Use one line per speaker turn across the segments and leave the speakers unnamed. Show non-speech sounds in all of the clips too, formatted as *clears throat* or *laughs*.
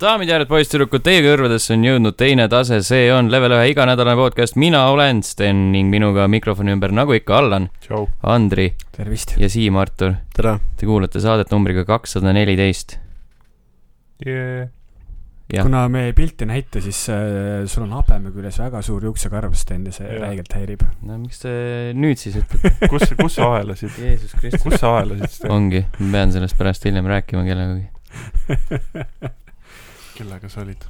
daamid ja härrad poisssüdrukud , teie kõrvadesse on jõudnud teine tase , see on level ühe iganädalane podcast , mina olen Sten ning minuga mikrofoni ümber , nagu ikka , Allan ,
tšau .
Andri
tervist .
ja Siim Artur .
tere .
Te kuulate saadet numbriga kakssada neliteist .
Yeah.
Jah.
kuna me pilti ei näita , siis äh, sul on habeme küljes väga suur juuksekarv , Sten , ja see
Jah.
räigelt häirib .
no miks te nüüd siis ütlete ,
kus , kus *laughs* sa aelasid ,
Jeesus Kristus .
kus sa aelasid seda ,
ongi , ma pean sellest pärast hiljem rääkima kellegagi .
*laughs* kellega sa olid ?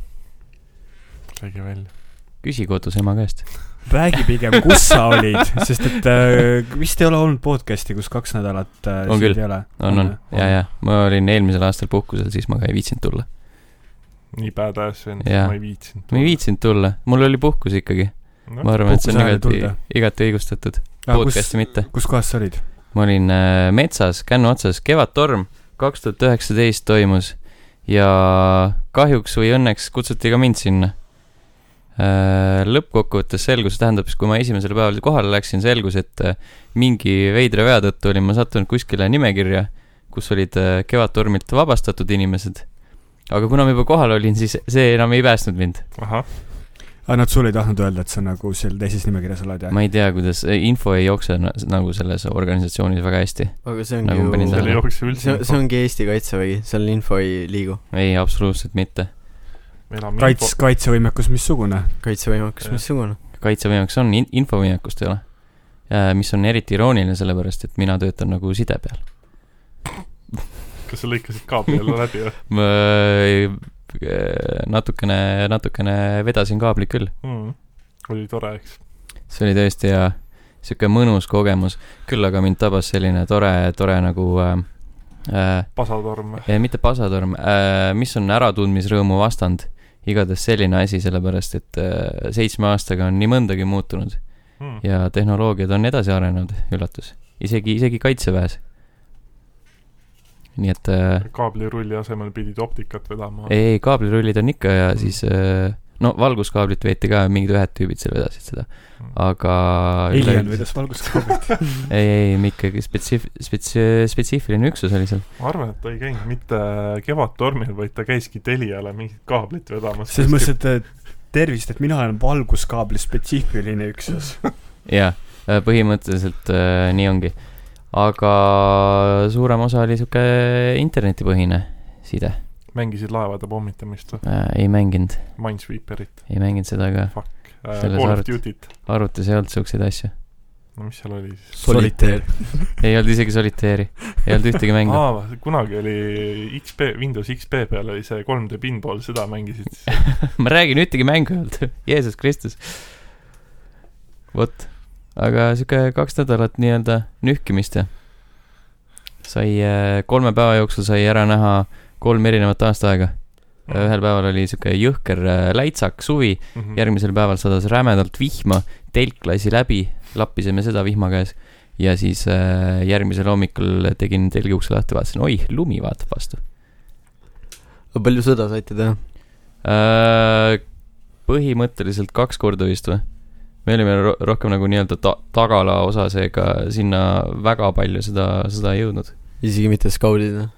räägi välja .
küsi kodus ema käest .
räägi pigem , kus sa olid , sest et äh, vist ei ole olnud podcast'i , kus kaks nädalat äh,
On
sind
küll.
ei ole .
on , on , ja , ja , ma olin eelmisel aastal puhkusel , siis ma ka ei viitsinud tulla .
nii badass on ,
Jaa.
ma ei viitsinud .
ma ei viitsinud tulla , mul oli puhkus ikkagi . ma
no, .
arvan , et see on
Puhkuse ajal
igati
tulda. ,
igati õigustatud .
Ah, kus
podcast'i , mitte .
kus kohas sa olid ?
ma olin äh, metsas kännu otsas , Kevadtorm kaks tuhat üheksateist toimus ja kahjuks või õnneks kutsuti ka mind sinna . lõppkokkuvõttes selgus , tähendab siis , kui ma esimesel päeval kohale läksin , selgus , et äh, mingi veidra vea tõttu olin ma sattunud kuskile nimekirja , kus olid äh, Kevadtormilt vabastatud inimesed . aga kuna ma juba kohal olin , siis see enam ei päästnud mind .
ahah ,
aa , Ah, nad sulle ei tahtnud öelda , et sa nagu seal teises nimekirjas oled , jah ?
ma ei tea , kuidas , info ei jookse na- nagu selles organisatsioonis väga hästi .
aga see
Nagu ma
ongi
panin
seal ei
tähele.
ju ,
jookse
see
üldse ,
see ongi Eesti Kaitsevägi , seal info ei liigu ,
ei , absoluutselt mitte .
meil on
kaits , kaitsevõimekus missugune ?
kaitsevõimekus
Jah.
missugune .
kaitsevõimekus on , infovõimekust ei ole . mis on eriti irooniline , sellepärast et mina töötan nagu side peal .
kas sa lõikasid kaabli alla
*laughs*
läbi või
ma äh, natukene , natukene vedasin kaablit küll .
mm. ? oli tore , eks .
see oli tõesti hea , sihuke mõnus kogemus . küll aga mind tabas selline tore , tore nagu äh, äh, ,
pasatorm või ?
mitte pasatorm äh, , mis on äratundmisrõõmu vastand . igatahes selline asi , sellepärast et äh, seitsme aastaga on nii mõndagi muutunud
Mm.
ja tehnoloogiad on edasi arenenud , üllatus . isegi , isegi kaitseväes . nii et äh,
kaablirulli asemel pidid optikat vedama .
ei , ei kaablirullid on ikka ja
Mm.
siis äh, no valguskaablit veeti ka , mingid ühed tüübid seal vedasid seda ,
Hmm.
aga .
Alien vedas valguskaablit .
ei , ei , ikkagi spetsiif- , spetsi- , spetsiifiline üksus oli seal .
ma arvan , et ta ei käinud mitte Kevadtormil , vaid ta käiski Teliale mingit kaablit vedamas .
selles mõttes , et äh, tervist , et mina olen valguskaabli spetsiifiline üksus .
jaa , põhimõtteliselt äh, nii ongi . aga suurem osa oli sihuke internetipõhine side
mängisid laevade pommitamist või ?
äh, . ei mänginud ,
Minesweeperit ,
ei mänginud seda ka ,
fuck .
Selles
Call of
arvut-
Duty't ,
arvutis ei olnud siukseid asju .
no mis seal oli siis ?
Solitaire. .
ei olnud isegi soliteeri , ei olnud ühtegi mängu .
aa , kunagi oli XP , Windows XP peal oli see 3D pinball , seda mängisid siis .
ma räägin , ühtegi mängu ei olnud , Jeesus Kristus . vot , aga sihuke kaks nädalat nii-öelda nühkimist ja sai äh, kolme päeva jooksul sai ära näha kolm erinevat aastaaega . *laughs* ühel päeval oli sihuke jõhker äh, läitsak suvi ,
Mhm. Mm.
järgmisel päeval sadas rämedalt vihma , telk lasi läbi , lappisime seda vihma käes ja siis äh, järgmisel hommikul tegin telgi ukse lahti , vaatasin , oih , lumi vaatab vastu .
aga palju sõda saite teha ?
Äh, põhimõtteliselt kaks korda vist või ? me olime ro rohkem nagu nii-öelda ta tagala osa , seega sinna väga palju seda , seda ei jõudnud
isegi mitte skaudina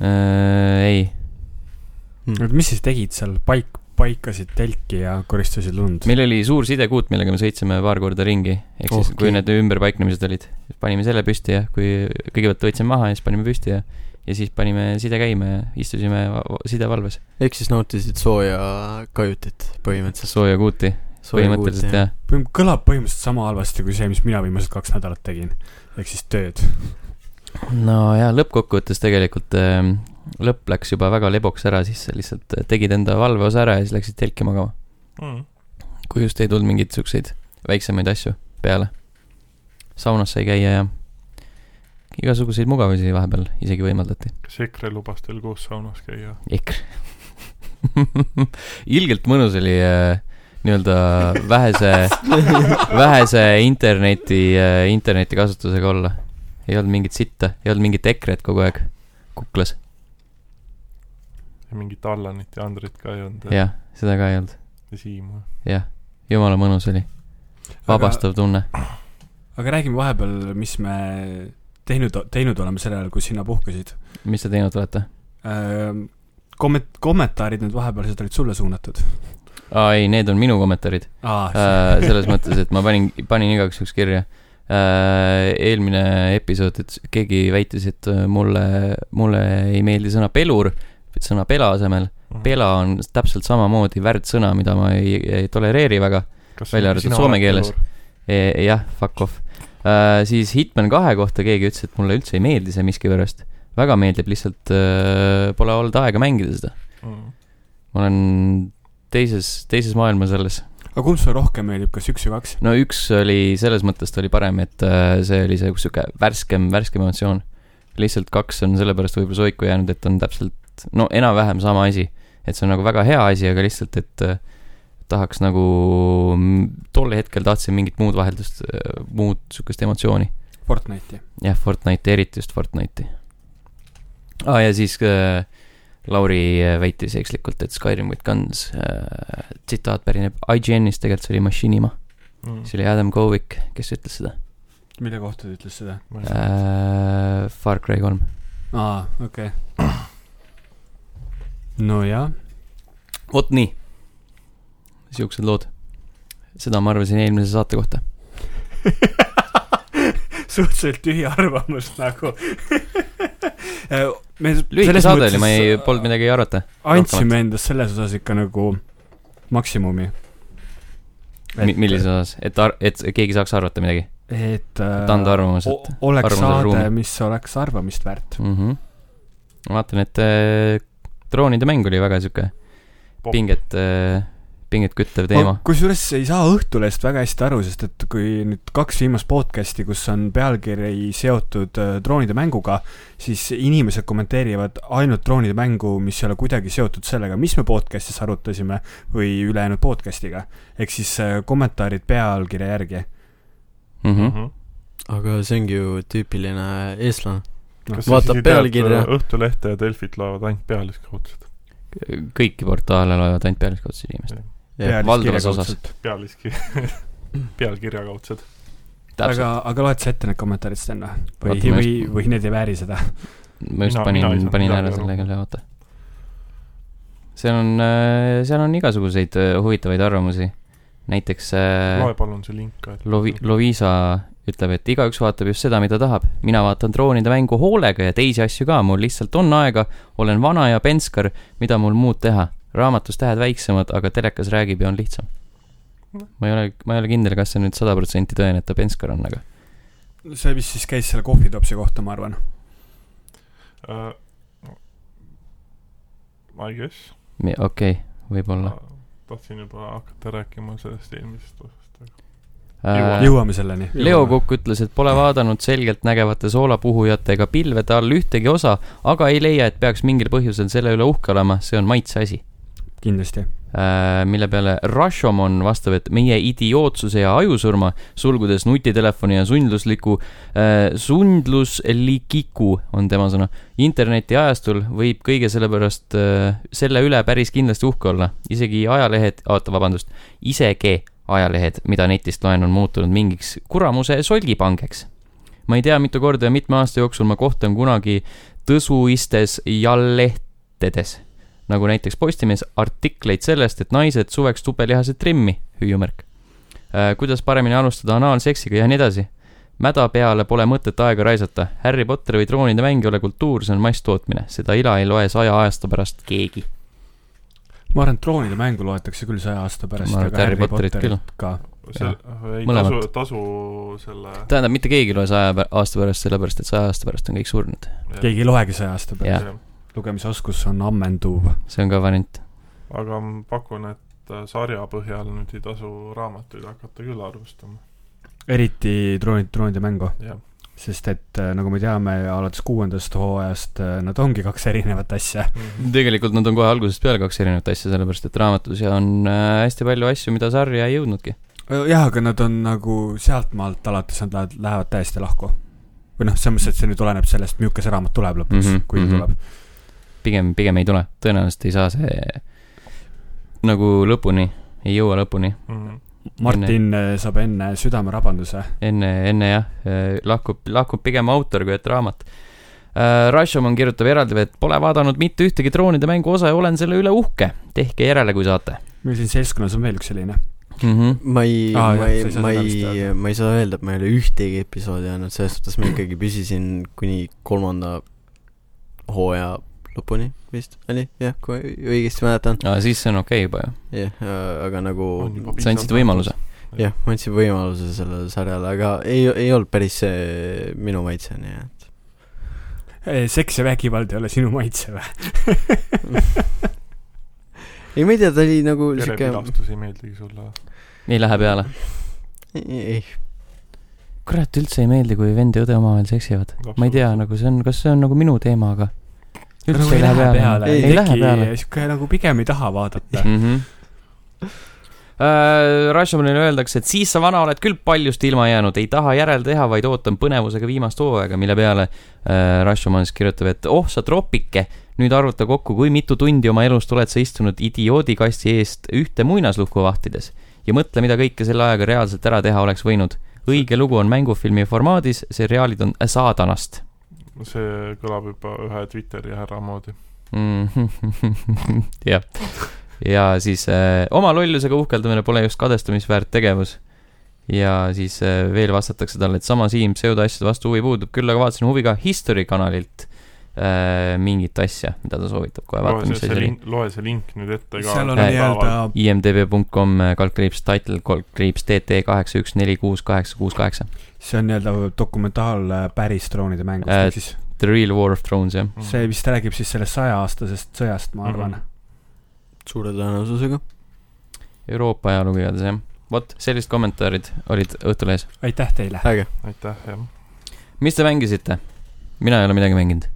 äh, . ei ,
hmm. .
Mm.
oota , mis siis tegid seal , paik , paikasid telki ja koristasid lund ?
meil oli suur sidekuut , millega me sõitsime paar korda ringi , ehk siis
Ohki.
kui need ümberpaiknemised olid , panime selle püsti ja kui kõigepealt võtsime maha ja siis panime püsti ja ja siis panime side käima ja istusime va- va- sidevalves ,
ehk siis nautisid sooja kajutit põhimõtteliselt .
sooja kuuti , põhimõtteliselt jah .
põhim- , kõlab põhimõtteliselt sama halvasti kui see , mis mina viimased kaks nädalat tegin . ehk siis tööd .
no ja lõppkokkuvõttes tegelikult ähm, lõpp läks juba väga leboks ära , siis sa lihtsalt eh, tegid enda valveosa ära ja siis läksid telki magama .
Mhm.
kui just ei tulnud mingeid siukseid väiksemaid asju peale . saunas sai käia ja igasuguseid mugavusi vahepeal isegi võimaldati .
kas EKRE lubas teil koos saunas käia ?
EKRE *laughs* ilgelt mõnus oli äh, nii-öelda vähese , vähese interneti , interneti kasutusega olla . ei olnud mingit sitta , ei olnud mingit EKRE-t kogu aeg kuklas .
ja mingit Allanit ja Andrit ka ei olnud
jah , seda ka ei olnud ,
ja Siimu .
jah . jumala mõnus oli , vabastav tunne .
aga räägime vahepeal , mis me teinud , teinud oleme sel ajal , kui sina puhkasid .
mis te teinud olete ?
komment- , kommentaarid nüüd vahepealsed olid sulle suunatud .
aa ei , need on minu kommentaarid .
aa ,
Äh, selles mõttes , et ma panin , panin igaks juhuks kirja . eelmine episood , et keegi väitis , et äh, mulle , mulle ei meeldi sõna pelur , sõna pela asemel .
Mhm.
pela on täpselt samamoodi värdsõna , mida ma ei, ei tolereeri väga . välja arvatud soome keeles. . E- jah , fuck off . siis Hitman kahe kohta keegi ütles , et mulle üldse ei meeldi see miskipärast . väga meeldib , lihtsalt äh, pole olnud aega mängida seda .
Mhm.
ma olen teises , teises maailmas alles .
aga kumb sulle rohkem meeldib , kas üks või kaks ?
no üks oli selles mõttes ta oli parem , et äh, see oli see sihuke värskem , värskem emotsioon . lihtsalt kaks on sellepärast võib-olla soiku jäänud , et on täpselt no enam-vähem sama asi , et see on nagu väga hea asi , aga lihtsalt , et äh, tahaks nagu mm, tol hetkel tahtsin mingit muud vaheldust , muud sihukest emotsiooni .
Fortnite'i .
jah , Fortnite'i , eriti just Fortnite'i . aa , ja siis äh, Lauri äh, väitis ekslikult , et Skyrim with guns äh, tsitaat pärineb IGN-ist , tegelikult see oli Machinima .
Mhm.
see oli Adam Kovic , kes ütles seda
mille kohta ta ütles seda ?
äh, . Far Cry kolm .
aa , okei *clears throat* okay. . nojah ,
vot nii . siuksed lood . seda ma arvasin eelmise saate kohta .
*laughs* suhteliselt tühi arvamus
*laughs*
nagu Äh, me
lühike saade oli , ma ei ,
äh,
polnud midagi arvata .
andsime endast selles osas ikka nagu maksimumi .
millises osas , et , et keegi saaks arvata midagi ,
et
et anda
äh,
arvamus ,
o-
et
oleks
arvamusruumi.
saade , mis oleks arvamist väärt .
mm . -hmm. ma vaatan , et äh, droonide mäng oli väga sihuke
Oh.
pinget äh, , pinget küttev
Oh.
teema .
kusjuures ei saa Õhtulehest väga hästi aru , sest et kui nüüd kaks viimast podcast'i , kus on pealkiri seotud äh, droonide mänguga , siis inimesed kommenteerivad ainult droonide mängu , mis ei ole kuidagi seotud sellega , mis me podcast'is arutasime või ülejäänud podcast'iga . ehk siis äh, kommentaarid pealkirja järgi .
Mm
Mhm.
-hmm.
aga see ongi ju tüüpiline eestlane . Vaatab
vaatab pealkirja
pealkirja. .
äh, Õhtulehte ja Delfit loevad ainult pealiskaudselt ,
kõiki portaale loevad ainult pealiskaudsed inimesed . valdavas osas. .
pealiski , *laughs* pealkirjakaudsed .
täpselt ,
aga , aga loed sa ette need kommentaarid , Sten , või ,
Vaatame
või ,
just-
või need ei vääri seda ?
ma just
mina- mina ei
panin ,
saanud
panin
midagi
ära
aru.
selle küll , oota . seal on , seal on igasuguseid äh, huvitavaid arvamusi . näiteks äh,
loe palun see link ka .
Lovi- , Loviisa ütleb , et igaüks vaatab just seda , mida tahab . mina vaatan droonide mängu hoolega ja teisi asju ka , mul lihtsalt on aega , olen vana ja penskar , mida mul muud teha . raamatus tähed väiksemad , aga telekas räägib ja on lihtsam . ma ei ole , ma ei ole kindel , kas see nüüd sada protsenti tõene , et ta penskar on , aga
see vist siis käis selle kohvitopsi kohta , ma arvan .
Äh, I guess .
mi- okei okay, , võib-olla
tahtsin juba hakata rääkima sellest eelmisest osast , aga
äh, .
jõuame selleni .
Leo . Kukk ütles , et pole vaadanud selgeltnägevate soolapuhujatega pilvede all ühtegi osa , aga ei leia , et peaks mingil põhjusel selle üle uhke olema , see on maitse asi .
kindlasti .
Äh, mille peale Rashomon vastab , et meie idiootsuse ja ajusurma , sulgudes nutitelefoni ja sundlusliku äh, , sundluslikiku on tema sõna , internetiajastul võib kõige selle pärast äh, , selle üle päris kindlasti uhke olla . isegi ajalehed , oota , vabandust , isegi ajalehed , mida netist loen , on muutunud mingiks kuramuse solgipangeks . ma ei tea , mitu korda ja mitme aasta jooksul ma kohtan kunagi tõsuistes jallehtedes nagu näiteks Postimees artikleid sellest , et naised suveks tubelihased trimmi , hüüumärk . kuidas paremini alustada anaalseksiga ja nii edasi . mäda peale pole mõtet aega raisata , Harry Potter või droonide mäng ei ole kultuur , see on masstootmine , seda ila ei loe saja aasta pärast keegi .
ma arvan , et droonide mängu loetakse küll saja aasta pärast .
Ma arvan, et Harry Potterit küll.
ka .
see ah, ei tasu
Mõlemat. ,
tasu selle .
tähendab , mitte keegi ei loe saja pä- aasta pärast , sellepärast et saja aasta pärast on kõik surnud .
keegi ei loegi saja aasta pärast .
jah ,
lugemisoskus on ammenduv .
see on ka variant .
aga ma pakun , et äh, sarja põhjal nüüd ei tasu raamatuid hakata küll arvustama ,
eriti droonid , droonide mängu .
jah .
sest et äh, nagu me teame , alates kuuendast hooajast äh, nad ongi kaks *laughs* erinevat asja .
Mhm.
tegelikult nad on kohe algusest peale kaks erinevat asja , sellepärast et raamatus ja on äh, hästi palju asju , mida sarja ei jõudnudki .
Äh, jah , aga nad on nagu sealtmaalt alates nad lähevad, lähevad täiesti lahku . või noh , selles mõttes , et see nüüd oleneb sellest , milline see raamat tuleb lõpuks mm ,
Mhm,
-hmm, kui ta
mhm.
mm -hmm. tuleb .
pigem , pigem ei tule , tõenäoliselt ei saa see nagu lõpuni , ei jõua lõpuni ,
Mhm.
Martin enne. saab enne südamerabanduse .
äh, enne , enne jah , lahkub , lahkub pigem autor kui et raamat . Rashomon kirjutab eraldi , et pole vaadanud mitte ühtegi droonide mängu osa ja olen selle üle uhke . tehke järele , kui saate
meil siin seltskonnas on veel üks selline .
mm . -hmm.
ma ei
Aa, jah,
ah, , ma
sa ei
ei
saa ,
ma
seda vist
ei
teada. ,
ma ei saa öelda , et ma ei ole ühtegi episoodi olnud , selles suhtes ma ikkagi püsisin kuni kolmanda hooaja lõpuni vist oli , jah , kui õigesti mäletan ,
Ah, siis see on okei okay juba ju ,
jah , aga nagu
On juba
sa andsid võimaluse .
jah , ma andsin võimaluse sellele sarjale , aga ei , ei olnud päris see minu maitse , nii et
Äh, seks ja vägivald ei ole sinu maitse või ?
ei , ma ei tea , ta oli nagu siuke ,
perepilastus ei meeldigi sulle .
ei lähe peale .
ei ,
kurat , üldse ei meeldi , kui vend ja õde omavahel seksivad . ma ei tea , nagu see on , kas see on nagu minu teema , aga üldse
nagu
ei lähe peale, peale. .
ei
ei lähe peale
teki , sihuke nagu pigem ei taha vaadata .
Mhm.
mm . -hmm. Rashomanile Äh, öeldakse , et siis sa vana oled küll paljust ilma jäänud , ei taha järel teha , vaid ootan põnevusega viimast hooaega , mille peale äh, Rashoman siis kirjutab , et oh sa tropike , nüüd arvuta kokku , kui mitu tundi oma elust oled sa istunud idioodikasti eest ühte muinaslukku vahtides ja mõtle , mida kõike selle ajaga reaalselt ära teha oleks võinud . õige lugu on mängufilmi formaadis , seriaalid on saadanast
see kõlab juba ühe Twitteri härra moodi .
mm, . *laughs* jah , ja siis äh, oma lollusega uhkeldamine pole just kadestamisväärt tegevus . ja siis äh, veel vastatakse talle , et sama Siim pseudoasjade vastu huvi puudub , küll aga vaatasin huviga History kanalilt äh, mingit asja , mida ta soovitab kohe vaatama , mis asi see oli .
loe see link nüüd ette ka .
seal on
Ei.
nii-öelda ,
IMDB.com kaldkriips äh, title kaldkriips TT kaheksa üks neli kuus kaheksa kuus kaheksa .
see on nii-öelda dokumentaal äh, päris droonide mängust
Äh,
äh, , ehk siis
The Real War of Thrones jah .
Mhm.
see vist räägib siis sellest sajaaastasest sõjast , ma arvan
Mhm.
mm .
suure tõenäosusega .
Euroopa ajalugu igatahes jah . vot sellised kommentaarid olid Õhtulehes .
-hmm. aitäh teile .
äge ,
aitäh , jah .
mis te mängisite ? mina ei ole midagi mänginud .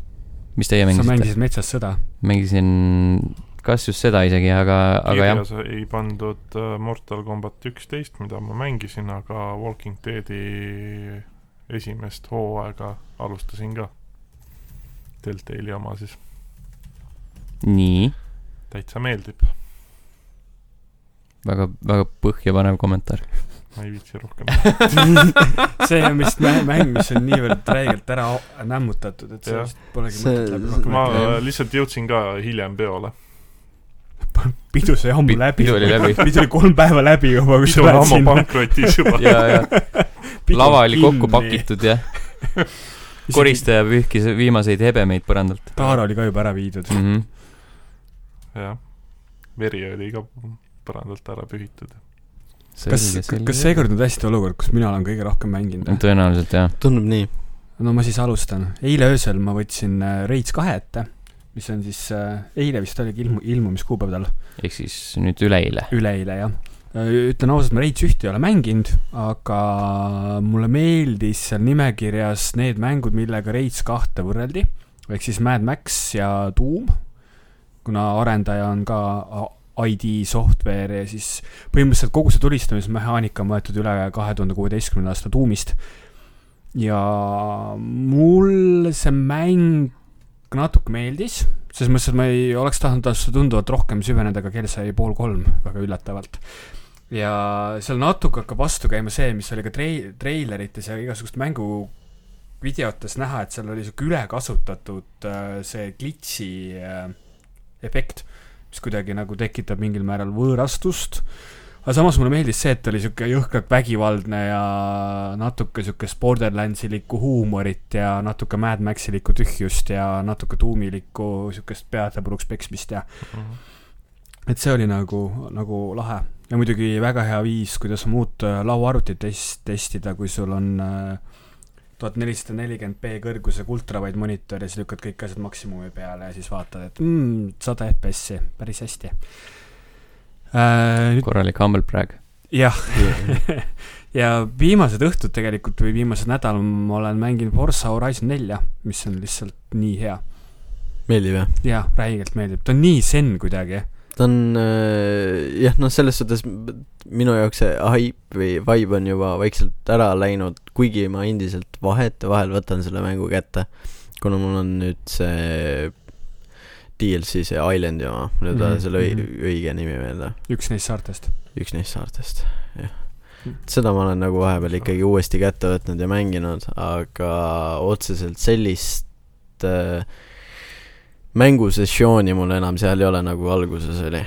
mis teie
sa
mängisite ?
mängisid Metsas sõda .
mängisin kas just seda isegi , aga , aga jah ,
kirjas ei pandud äh, Mortal Combat üksteist , mida ma mängisin , aga Walking Deadi esimest hooaega alustasin ka . Deltali oma siis ,
nii
täitsa meeldib ,
väga , väga põhjapanev kommentaar .
ma ei viitsi
*laughs*
rohkem .
*laughs* see on vist mä- mäng , mis on niivõrd räigelt ära o- nämmutatud , et
Jah.
sellest polegi
See-
mõtet läbi rohkem
ma
rääkida .
äh, lihtsalt jõudsin ka hiljem peole .
pidu sai ammu
Pi-
läbi .
pidu oli läbi.
*laughs* pidu oli kolm päeva läbi juba , kui sa
pidu on
lähed
ammu
sinna .
pankrotis
*laughs*
juba .
ja , ja
*laughs*
lava oli kokku . pakitud ja koristaja pühkis viimaseid hebemeid põrandalt
Taara oli ka juba ära viidud .
mm . -hmm.
jah , veri oli ka põrandalt ära pühitud .
kas , kas ? seekord on tõesti olukord , kus mina olen kõige rohkem mänginud ?
tõenäoliselt jah ,
tundub nii .
*laughs*
no ma siis alustan . eile öösel ma võtsin äh, Raids kahe ette , mis on siis , eile vist oligi ilmu , ilmumiskuupäev tal ,
ehk siis nüüd üleeile .
üleeile jah . ütlen ausalt , ma Raids ühte ei ole mänginud , aga mulle meeldis seal nimekirjas need mängud , millega Raids kahte võrreldi , ehk siis Mad Max ja Doom , kuna arendaja on ka a- ID software ja siis põhimõtteliselt kogu see tulistamismehaanika on võetud üle kahe tuhande kuueteistkümnenda aasta tuumist . ja mul see mäng natuke meeldis , selles mõttes , et ma ei oleks tahtnud tast tunduvalt rohkem süveneda , aga kell sai pool kolm väga üllatavalt . ja seal natuke hakkab vastu käima see , mis oli ka trei- , treilerites ja igasugust mängu videotes näha , et seal oli sihuke ülekasutatud äh, see glitsi äh, efekt , mis kuidagi nagu tekitab mingil määral võõrastust . aga samas mulle meeldis see , et oli sihuke jõhkralt vägivaldne ja natuke siukest Borderlandsilikku huumorit ja natuke Mad Maxilikku tühjust ja natuke tuumilikku siukest peade puruks peksmist ja
Mhm.
et see oli nagu , nagu lahe . ja muidugi väga hea viis , kuidas muud äh, lauaarvutit test- , testida , kui sul on tuhat nelisada nelikümmend B kõrgusega ultravide monitor ja siis lükkad kõik asjad maksimumi peale ja siis vaatad , et sada mm, FPS-i , päris hästi äh, . nüüd
korralik humble brag .
jah , *laughs* ja viimased õhtud tegelikult või viimased nädal ma olen mänginud Forza Horizon nelja , mis on lihtsalt nii hea
meeldib jah ?
ja räigelt meeldib , ta on nii zen kuidagi .
ta on äh, jah , noh , selles suhtes m- minu jaoks see hype või vibe on juba vaikselt ära läinud , kuigi ma endiselt vahetevahel võtan selle mängu kätte , kuna mul on nüüd see DLC , see Islandi oma , nüüd mm
Mhm,
-hmm. selle õi-
mhm.
õige nimi meelde ,
üks neist saartest .
üks neist saartest , jah .
Mhm.
seda ma olen nagu vahepeal ikkagi uuesti kätte võtnud ja mänginud , aga otseselt sellist sellist äh, mängusessiooni mul enam seal ei ole , nagu alguses oli .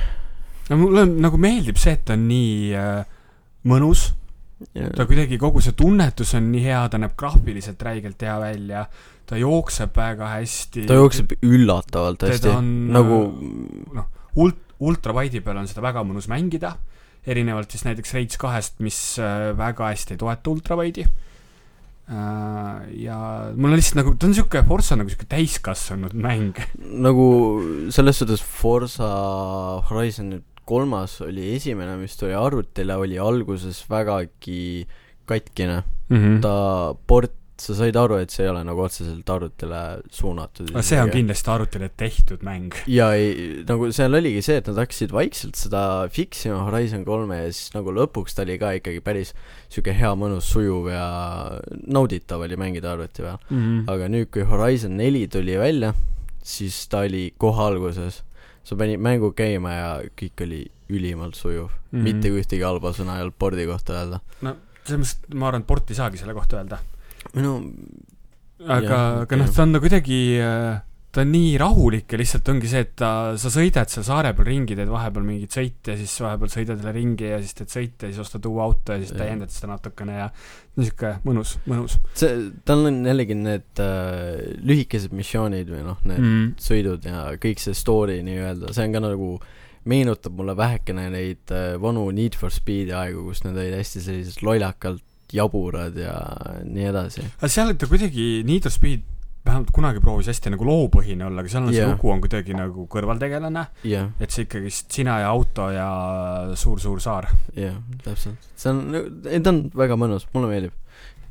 no mulle nagu meeldib see , et ta on nii äh, mõnus , ta kuidagi , kogu see tunnetus on nii hea , ta näeb graafiliselt räigelt hea välja , ta jookseb väga hästi .
ta jookseb üllatavalt hästi
teda . on äh,
nagu
ult- , ultrawide'i peal on seda väga mõnus mängida , erinevalt siis näiteks Rage kahest , mis äh, väga hästi ei toeta ultrawide'i . ja mul on lihtsalt nagu , ta on niisugune Forsa nagu niisugune täiskasvanud mäng .
nagu selles suhtes Forsa Horizon nüüd kolmas oli esimene , mis tuli arvutile , oli alguses vägagi katkine .
Mhm.
Mhm. ta port , sa said aru , et see ei ole nagu otseselt arvutile suunatud .
see on . kindlasti arvutile tehtud mäng .
ja ei , nagu seal oligi see , et nad hakkasid vaikselt seda fix ima Horizon kolme ja siis nagu lõpuks ta oli ka ikkagi päris sihuke hea , mõnus , sujuv ja nauditav oli mängida arvuti peal . aga nüüd , kui Horizon neli tuli välja , siis ta oli kohe alguses , sa panid mängu käima ja kõik oli ülimalt sujuv mm ,
Mhm.
-hmm. mitte ühtegi halba sõna ei olnud pordi kohta öelda .
selles mõttes , ma arvan , et port ei saagi selle kohta öelda .
minu ,
aga
Jah, ,
aga noh ,
jah.
ta on ta kuidagi , ta on nii rahulik ja lihtsalt ongi see , et ta , sa sõidad seal saare peal ringi , teed vahepeal mingeid sõite ja siis vahepeal sõidad jälle ringi ja siis teed sõite ja siis ostad uue auto ja siis
Jah.
täiendad seda natukene ja niisugune mõnus , mõnus .
see , tal on jällegi need äh, lühikesed missioonid või noh , need mm
Mm.
-hmm. sõidud ja kõik see story nii-öelda , see on ka nagu meenutab mulle vähekene neid äh, vanu Need for Speed'i aegu , kus nad olid hästi sellised lollakalt jaburad ja nii edasi .
aga seal ta kuidagi , Need for Speed vähemalt kunagi proovis hästi nagu loopõhine olla , aga seal on see
Jah.
lugu on kuidagi nagu kõrvaltegelane ,
jah
et see ikkagist sina ja auto ja suur-suur saar .
jah , täpselt , see on , ei ta on väga mõnus , mulle meeldib .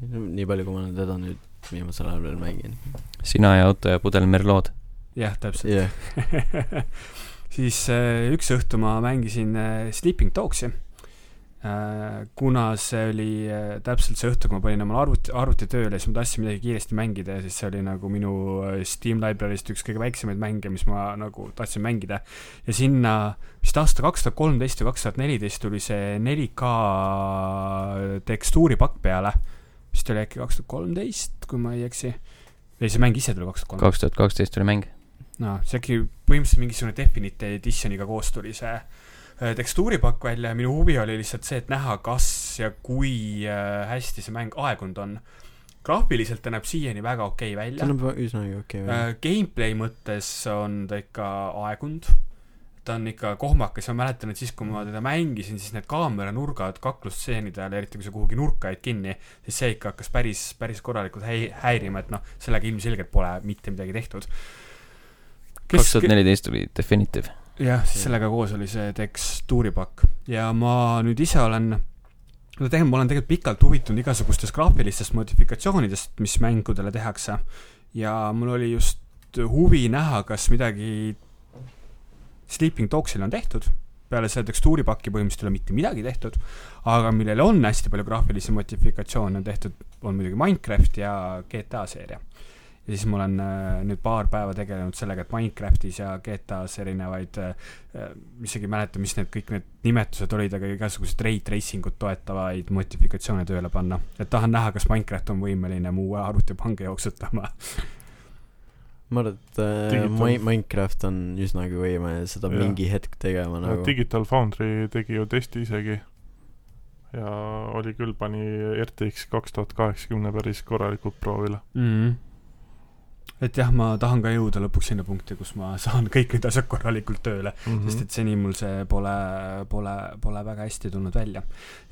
nii palju , kui ma olen teda nüüd viimasel ajal veel mänginud .
sina ja auto ja pudel Merlot .
jah , täpselt .
jah ,
*laughs* siis äh, üks õhtu ma mängisin äh, Sleeping Dogsi äh, . kuna see oli äh, täpselt see õhtu , kui ma panin omale arvuti , arvuti tööle , siis ma tahtsin midagi kiiresti mängida ja siis see oli nagu minu äh, Steam library'st üks kõige väiksemaid mänge , mis ma nagu tahtsin mängida . ja sinna vist aasta kaks tuhat kolmteist või kaks tuhat neliteist tuli see 4K tekstuuripakk peale , vist oli äkki kaks tuhat kolmteist , kui ma ei eksi . ei , see mäng ise tuli kaks tuhat kolmteist .
kaks tuhat kaksteist oli mäng .
noh , see äkki põhimõtteliselt mingisugune Definite Editioniga koos tuli see äh, tekstuuripakk välja ja minu huvi oli lihtsalt see , et näha , kas ja kui äh, hästi see mäng aegunud on . graafiliselt ta näeb siiani väga okei okay välja
see . on juba üsnagi okei okay, .
Äh, gameplay mõttes on ta ikka aegunud , ta on ikka kohmakas ja ma mäletan , et siis , kui ma teda mängisin , siis need kaameranurgad kaklustseenide ajal , eriti kui sa kuhugi nurka jäid kinni , siis see ikka hakkas päris , päris korralikult häi- , häirima , et noh , sellega ilmselgelt pole mitte midagi tehtud .
kaks tuhat neliteist oli Definitive .
jah , siis sellega koos oli see tekstuuripakk ja ma nüüd ise olen , no tegelikult ma olen tegelikult pikalt huvitunud igasugustest graafilistest modifikatsioonidest , mis mängudele tehakse . ja mul oli just huvi näha , kas midagi Sleeping Dogsil on tehtud , peale selle tekstuuripaki põhimõtteliselt ei ole mitte midagi tehtud , aga millele on hästi palju graafilisi modifikatsioone tehtud , on muidugi Minecraft ja GTA seeria . ja siis ma olen äh, nüüd paar päeva tegelenud sellega , et Minecraftis ja GTA-s erinevaid äh, , isegi ei mäleta , mis need kõik need nimetused olid , aga igasuguseid ray tracing ut toetavaid modifikatsioone tööle panna . et tahan näha , kas Minecraft on võimeline mu arvutipange jooksutama .
ma arvan , et äh,
Digital-
Mi- Minecraft on üsnagi võimeline seda
Jah.
ja. mingi hetk tegema
no,
nagu .
Digital Foundry tegi ju testi isegi ja oli küll , pani RTX kaks tuhat kaheksakümne päris korralikult proovile .
mm. . et jah , ma tahan ka jõuda lõpuks sinna punkti , kus ma saan kõik need asjad korralikult tööle mm ,
Mhm.
-hmm. sest et seni mul see pole , pole , pole väga hästi tulnud välja .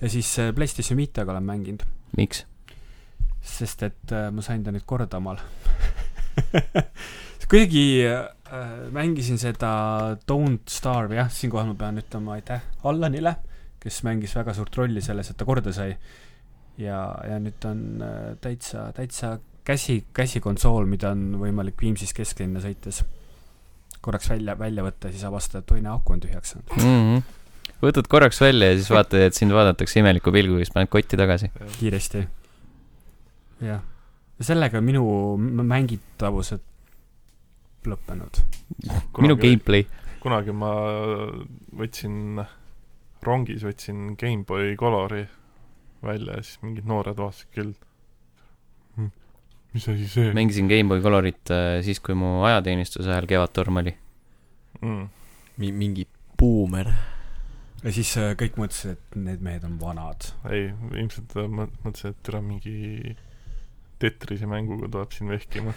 ja siis äh, PlayStation Vitaga olen mänginud ,
miks ?
sest et äh, ma sain ta nüüd korda omal . kuidagi äh, mängisin seda Don't Starve , jah , siinkohal ma pean ütlema aitäh Allanile , kes mängis väga suurt rolli selles , et ta korda sai . ja , ja nüüd on äh, täitsa , täitsa käsi , käsikonsool , mida on võimalik Viimsis kesklinna sõites korraks välja , välja võtta , siis avastada , et oi , näe , aku on tühjaks saanud .
võtad Mhm. korraks välja ja siis vaatad , et sind vaadatakse imeliku pilguga , siis paned kotti tagasi .
kiiresti . jah , sellega minu m- mängitavused lõppenud .
minu . gameplay .
kunagi ma äh, võtsin , rongis võtsin GameBoy Colori välja ja siis mingid noored vaatasid küll . Hm, mis asi see Mäng...
mängisin Gameboy Colorit äh, siis , kui mu ajateenistuse ajal Kevadtorm oli .
mm. ?
mi- , mingi buumer .
ja siis äh, kõik mõtlesid , et need mehed on vanad .
ei , ilmselt ta mõ- mõtles , et ära mingi Tetrise mänguga tuleb siin vehkima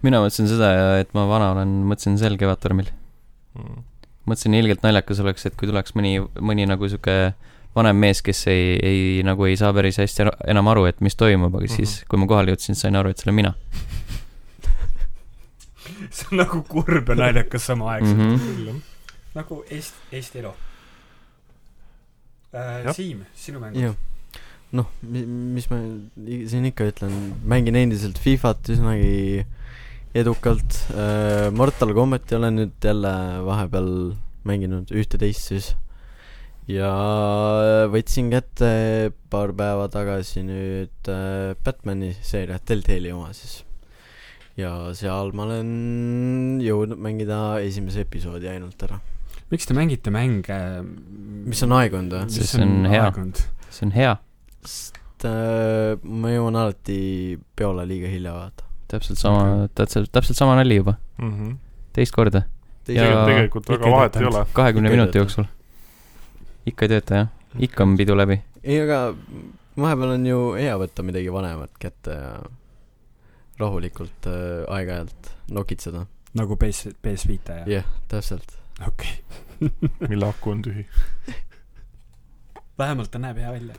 mina mõtlesin seda , et ma vana olen , mõtlesin sel Kevadtormil .
mm. .
mõtlesin ilgelt naljakas oleks , et kui tuleks mõni , mõni nagu sihuke vanem mees , kes ei , ei nagu ei saa päris hästi ära- enam aru , et mis toimub , aga siis , kui ma kohale jõudsin , sain aru , et see olen mina
*laughs* see on nagu kurb ja naljakas samaaegselt mm .
mm . -hmm.
küll jah .
Mhm.
-hmm. nagu Eesti , Eesti elu
Jah.
äh, . Siim , sinu mäng .
jah . noh , mis ma i- siin ikka ütlen , mängin endiselt Fifat üsnagi edukalt . Mortal Combati olen nüüd jälle vahepeal mänginud ühte-teist siis . ja äh, võtsin kätte paar päeva tagasi nüüd äh, Batman'i seeria , Telltale'i oma siis . ja seal ma olen jõudnud mängida esimese episoodi ainult ära .
miks te mängite mänge ?
mis on aeg olnud või ?
Sest see on hea. see on hea ,
sest äh, ma jõuan alati peole liiga hilja vaata .
täpselt sama , täpselt , täpselt sama nali juba ,
Mm -hmm.
teist korda , Ja-
tegelikult
Ikka
väga vahet ei
töötanud.
ole .
kahekümne
Ikka ei
minuti
tööta.
jooksul . ikka ei tööta jah , ikka on pidu läbi .
ei , aga vahepeal on ju hea võtta midagi vanemat kätte ja rahulikult äh, aeg-ajalt nokitseda .
nagu PS , PS Vita ja
jah yeah, , täpselt .
okei .
mille aku on tühi .
vähemalt ta näeb hea välja .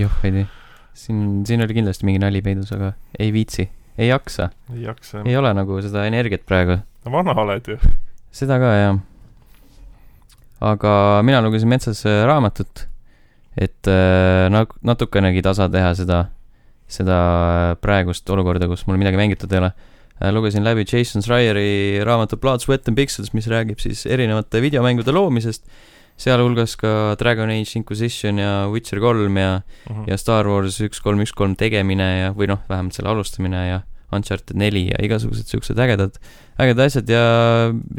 joh , ei tea , siin , siin oli kindlasti mingi nali peidus , aga ei viitsi , ei jaksa ,
ei jaksa .
ei ole nagu seda energiat praegu ,
vana oled ju .
seda ka jah . aga mina lugesin metsas äh, raamatut , et äh, nag- natukenegi tasa teha seda , seda äh, praegust olukorda , kus mul midagi mängitud ei ole . lugesin läbi Jason Schreieri raamatu Blood , Sweat and Pixels , mis räägib siis erinevate videomängude loomisest , sealhulgas ka Dragon Age Inquisition ja Witcher kolm ja
Mhm.
ja Star Wars üks kolm üks kolm tegemine ja , või noh , vähemalt selle alustamine ja Uncharted neli ja igasugused siuksed ägedad , ägedad asjad ja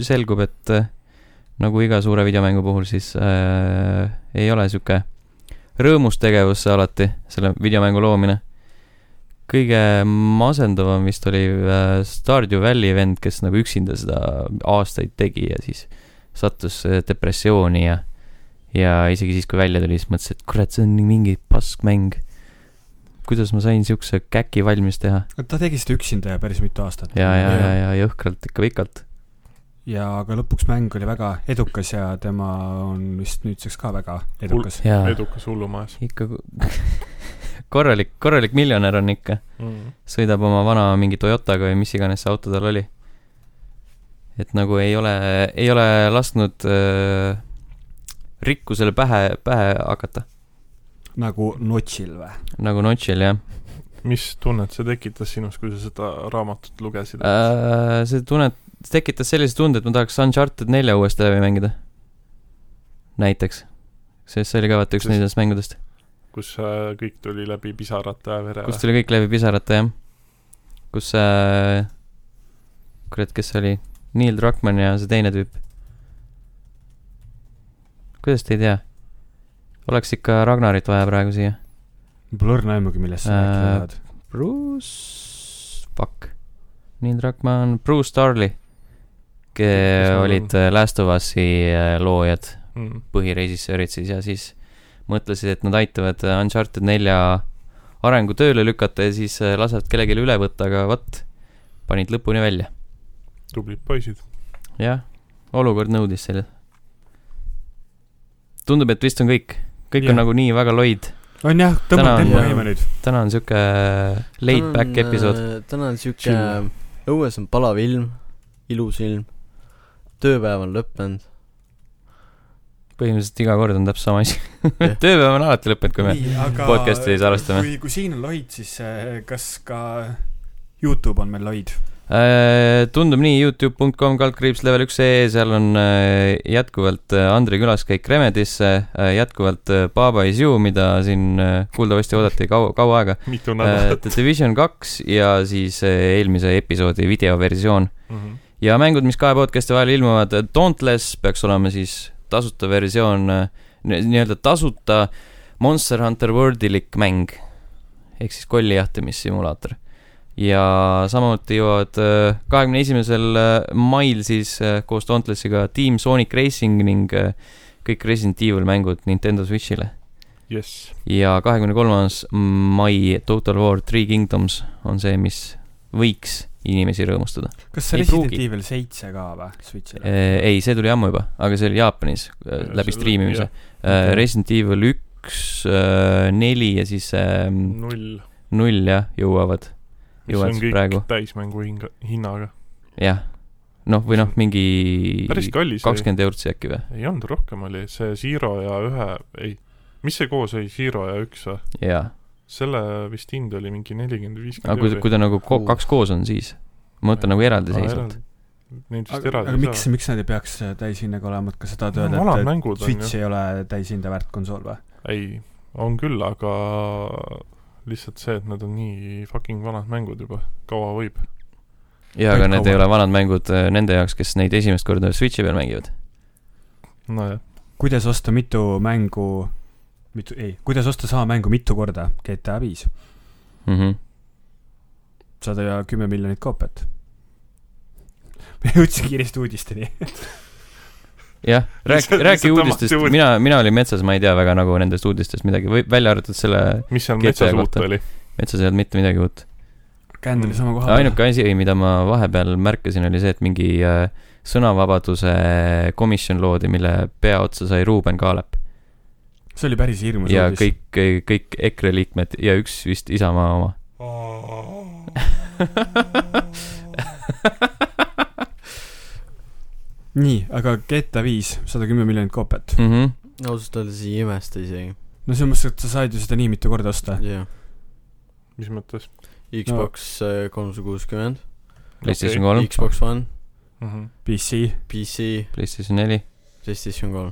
selgub , et äh, nagu iga suure videomängu puhul , siis äh, ei ole sihuke rõõmus tegevus see alati , selle videomängu loomine . kõige masendavam vist oli äh, Stardew Valley vend , kes nagu üksinda seda aastaid tegi ja siis sattus äh, depressiooni ja ja isegi siis , kui välja tuli , siis mõtles , et kurat , see on nii mingi paskmäng . kuidas ma sain siukse käki valmis teha
ta tegi seda üksinda ja päris mitu aastat .
ja , ja , ja , ja jõhkralt ikka pikalt .
ja aga lõpuks mäng oli väga edukas ja tema on vist nüüdseks ka väga edukas .
ja
edukas hullumajas
ikka *laughs* korralik , korralik miljonär on ikka ,
mm. .
sõidab oma vana mingi Toyotaga või mis iganes see auto tal oli . et nagu ei ole , ei ole lasknud äh, rikkusele pähe , pähe hakata ,
nagu Notšil või ?
nagu Notchil jah .
mis tunnet see tekitas sinus , kui sa seda raamatut lugesid äh. ?
Äh, see tunnet , tekitas sellise tunde , et ma tahaks Uncharted nelja uuesti läbi mängida . näiteks , sest see oli ka vaata üks
Sest-
nendest mängudest ,
kus äh, kõik tuli läbi pisarate ja vere
kus tuli kõik läbi pisarate jah , kus äh, , kurat , kes see oli , Neil Druckmann ja see teine tüüp . kuidas te ei tea ? oleks ikka Ragnarit vaja praegu siia .
Pole õrna aimugi , millest sa
Äh,
rääkida tahad .
Bruce , fuck , Neil Druckmann , Bruce Starley ,
Kes
kes
nad
olid äh, Last of Us'i äh, loojad ,
mm. .
põhirežissöörid siis ja siis mõtlesid , et nad aitavad äh, Uncharted nelja arengu tööle lükata ja siis äh, lasevad kellelegi üle võtta , aga vot , panid lõpuni välja .
tublid poisid . *laughs*
jah , olukord nõudis selle . tundub , et vist on kõik , kõik
Jah.
on nagu nii väga loid ,
on jah ,
Täna
tõmbab
on-
tempo
jaa.
käima nüüd .
täna on sihuke laid back episood .
täna äh, on siuke
Chill. ,
õues on palav ilm , ilus ilm , tööpäev on
*laughs*
lõppenud .
põhimõtteliselt iga kord on täpselt sama asi *laughs*
Jah. .
tööpäev on alati lõppenud , kui me .
aga
podcast'i salvestame.
kui , kui siin on loid , siis äh, kas ka Youtube on meil loid ?
Äh, tundub nii , Youtube.com kaldkriips level üks ee , seal on äh, jätkuvalt äh, Andri külaskäik Remedisse , jätkuvalt äh, Baba is you , mida siin äh, kuuldavasti oodati kaua , kaua aega .
mitu nädalat
The Division kaks ja siis äh, eelmise episoodi videoversioon .
mm . -hmm.
ja mängud , mis kahe podcast'i vahel ilmuvad , Dauntless peaks olema siis tasuta eh, versioon , nii-öelda tasuta Monster Hunter Worldilik mäng . ehk siis kolli jahtimissimulaator . ja samuti jõuavad eh, kahekümne esimesel eh, mail siis äh, koos Dauntlessiga Team Sonic Racing ning äh, kõik Resident Evil mängud Nintendo Switch'ile .
jess .
ja kahekümne kolmas mai Total War Three Kingdoms on see , mis võiks inimesi rõõmustada .
kas see
Ei
Resident
pruugi.
Evil seitse ka või , Switch'ile ?
Äh, ei , see tuli ammu juba , aga see oli Jaapanis äh, läbi striimimise ..
Okei.
Resident Evil üks , neli ja siis äh,
null .
null jah , jõuavad ,
mis on
jõuavad siis
kõik
praegu
praegu. täismängu hinga , hinnaga .
jah , noh , või noh , mingi
päris kallis oli .
kakskümmend eurtsi äkki või ,
ei olnud , rohkem oli , see Zero ja ühe , ei , mis see koos oli , Zero ja üks või ?
jaa .
selle vist hind oli mingi nelikümmend , viiskümmend
aga kui , kui ta nagu ko-
Kuus.
kaks koos on , siis ma mõtlen nagu eraldiseisvalt ..
Neid vist
aga,
eraldi
aga miks ,? miks nad ei peaks äh, täishinnaga olema , et kas sa tahad
No,
öelda ,
vanad
et äh,
mängud on
Switch ei ole täishinda väärt konsool või ?
ei , on küll , aga lihtsalt see , et nad on nii fucking vanad mängud juba , kaua võib .
jaa , aga
Kõik
need ei
kaua.
ole vanad mängud äh, nende jaoks , kes neid esimest korda Switch'i peal mängivad .
nojah ,
kuidas osta mitu mängu , mitu , ei , kuidas osta sama mängu mitu korda GTA viis ,
mm . -hmm.
sada ja kümme miljonit koopiat . me jõudsime kiiresti uudisteni .
jah , rääki ,
Lihtsalt-
rääki
lihtsalt
uudistest
tõmmati , uud-
mina , mina olin metsas , ma ei tea väga nagu nendest uudistest midagi , või välja arvatud selle ,
mis seal
GTA
metsas uut
kohta.
oli ?
metsas ei olnud mitte midagi uut .
känd oli sama koha
Mm. ainuke asi , mida ma vahepeal märkasin , oli see , et mingi äh, sõnavabaduse komisjon loodi , mille peaotsa sai Ruuben Kaalep
see oli päris hirmus
ja
uudis .
kõik , kõik EKRE liikmed ja üks vist Isamaa oma .
nii , aga GTA viis , sada kümme miljonit koopiat .
mm . -hmm.
ausalt öeldes ei imesta isegi ,
no selles mõttes , et sa said ju seda nii mitu korda osta .
jah .
mis mõttes
Xbox äh, kolmsada kuuskümmend ,
PlayStation
Okei.
kolm ,
Xbox One ,
mm ? -hmm.
PC ,
PC ,
PlayStation neli ,
PlayStation kolm .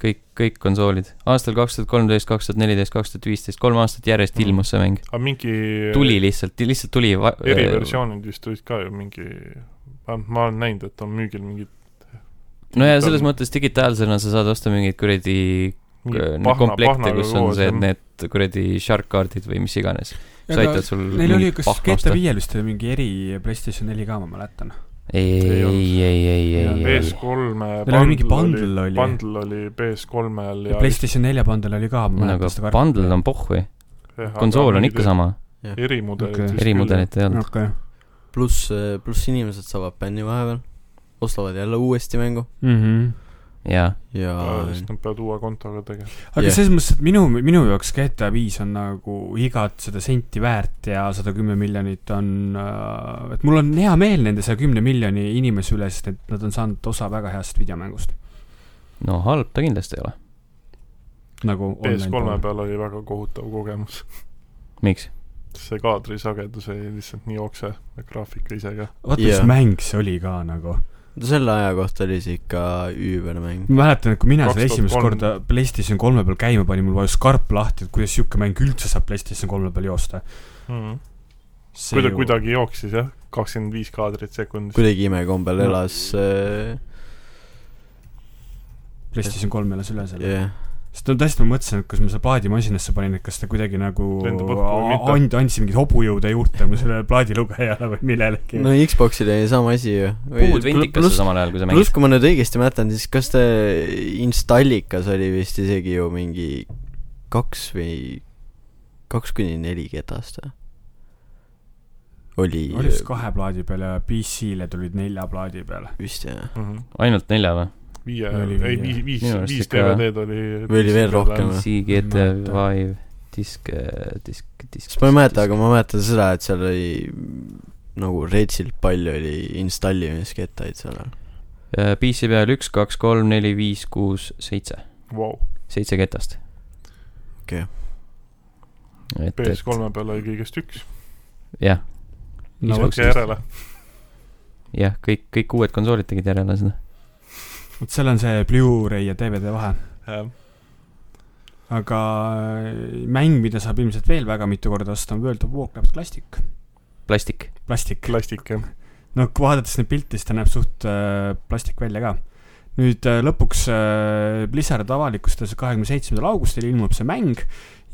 kõik , kõik konsoolid . aastal kaks tuhat kolmteist , kaks tuhat neliteist , kaks tuhat viisteist , kolm aastat järjest
Mhm.
ilmus see mäng .
aga mingi
tuli äh, lihtsalt , lihtsalt tuli .
eriversioonid vist olid ka ju mingi , vähemalt ma olen näinud , et on müügil mingid
no ja selles mõttes digitaalsena sa saad osta mingeid kuradi
mingi
äh, neid
pahna-
komplekte ,
pahnaga
kus on
koos,
see , et
jah.
need kuradi shark card'id või mis iganes . mis
Aga
aitavad sul
Neil oli ,
mingit
kas
pahna
GTA
osta . ei ,
viiel vist oli mingi eri PlayStation neli ka , ma mäletan .
ei ,
Ei olnud.
ei , ei , ei , ei .
PS3-e
Neil oli mingi bundle oli.
bundle oli PS3-el ja,
ja PlayStation nelja bundle oli ka , ma mäletan
aga
seda
bundle Nagu on pohhui ,
jah, aga
konsool on
mingid
ikka sama ,
erimudelid
Okei.
vist küll, jah.
erimudelit ei olnud .
okei
pluss , pluss inimesed saavad bänni vahepeal , ostavad jälle uuesti mängu
mhmh
jaa ,
ja
Jaa, sest nad peavad uue kontoga tegema .
aga
Jah.
selles mõttes , et minu , minu jaoks GTA viis on nagu igat seda senti väärt ja sada kümme miljonit on , et mul on hea meel nende saja kümne miljoni inimese üle , sest et nad on saanud osa väga heast videomängust .
no halb ta kindlasti ei ole .
nagu
PS3-e
online-
peal oli väga kohutav kogemus . *laughs*
miks ?
see kaadrisagedus oli lihtsalt nii okse , graafika ise ka .
vaata , mis
Jah.
mäng see oli ka nagu .
selle aja kohta oli see ikka üübermäng .
ma mäletan , et kui mina selle esimest
2003.
korda PlayStation kolme peal käima panin , mul vajus karp lahti , et kuidas sihuke mäng üldse saab PlayStation kolme peal joosta . Mhm.
kui ta . kuidagi jooksis jah , kakskümmend viis kaadrit sekundis .
kuidagi imekombel
No.
elas äh, ,
PlayStation kolm elas üle selle
jah ,
sest no tõesti ma mõtlesin , et kas ma selle plaadimasinasse panin , et kas ta kuidagi nagu
Lendab õhku või mitte?
and- , andis mingeid hobujõude juurde mu sellele plaadilugejale või millelegi
no
no, .
Xboxil oli sama asi ju .
puud vintikasse samal ajal , kui sa mängid
pluss ,. kui ma nüüd õigesti mäletan , siis kas ta installikas oli vist isegi ju mingi kaks või kaks kuni neli ketast või ? oli
oli vist kahe plaadi peal ja PC-le tulid nelja plaadi peale .
vist jah ,
ainult nelja või ?
Mhm. viie ,
Oli
ei
viie.
viis , viis
Minu , arust
viis
ikka-
DVD-d oli .
Või oli veel rohkem või?
PC GTA
Ma ei mäleta.
Vive , disk , disk , disk .
sest ma ei mäleta , aga ma mäletan seda , et seal oli nagu retsilt palju oli installimiskettaid seal all .
Äh, PC peal üks , kaks , kolm , neli , viis , kuus , seitse ,
Vau ,
seitse ketast .
Okei. .
et , et
PS3-e peal oli kõigest üks .
jah ,
no vot ,
Xbox-
sihuke järele .
jah , kõik , kõik uued konsoolid tegid järele seda .
vot seal on see Blu-ray ja DVD vahe .
jah ,
aga äh, mäng , mida saab ilmselt veel väga mitu korda osta , on World of Warcraft Classic .
plastik ,
plastik .
plastik jah .
no kui vaadates neid pilte , siis ta näeb suht äh, plastik välja ka . nüüd äh, lõpuks äh, Blizzard avalikustas , et kahekümne seitsmendal augustil ilmub see mäng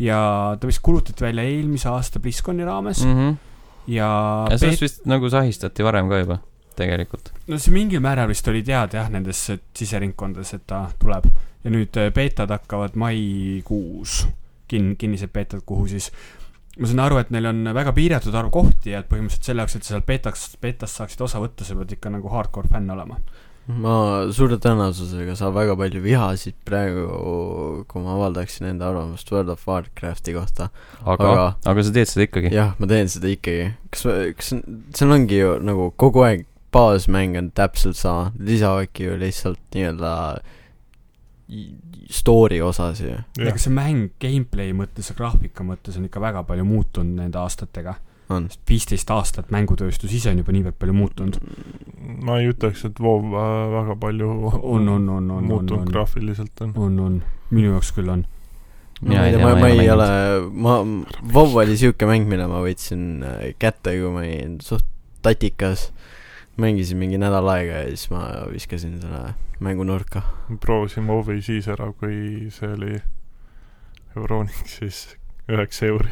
ja ta vist kuulutati välja eelmise aasta BlizzConi raames mm.
-hmm.
ja,
ja
peet-
sellest vist nagu sahistati varem ka juba , tegelikult .
no see mingil määral vist oli teada jah , nendes siseringkondades , et ta tuleb . ja nüüd äh, beetad hakkavad maikuus , kin- , kinnised beetad , kuhu siis ma saan aru , et neil on väga piiratud arv kohti ja et põhimõtteliselt selle jaoks , et sa sealt beetaks , beetast saaksid osa võtta , sa pead ikka nagu hardcore fänn olema .
ma suure tõenäosusega saan väga palju vihasid praegu , kui ma avaldaksin enda arvamust World of Warcrafti kohta .
aga, aga... , aga sa teed seda ikkagi ?
jah , ma teen seda ikkagi . kas , kas on- seal ongi ju nagu kogu aeg baasmäng on täpselt sama , lisavadki ju lihtsalt nii-öelda i- story osas ju .
ega Nagu see mäng gameplay mõttes ja graafika mõttes on ikka väga palju muutunud nende aastatega .
on .
viisteist aastat mängutööstus ise on juba niivõrd palju muutunud .
ma ei ütleks , et WoW äh, väga palju
on , on , on , on , on ,
muutunud
on ,
graafiliselt on .
on , on , minu jaoks küll on .
Mina
ma ei tea , ma , ma ei ole , ma , WoW oli siuke mäng , mille ma võtsin äh, kätte , kui ma olin suht tatikas . mängisin mingi nädal aega ja siis ma viskasin selle mängu nurka .
proovisin WoW-i siis ära , kui see oli Euronic , siis üheksa euri .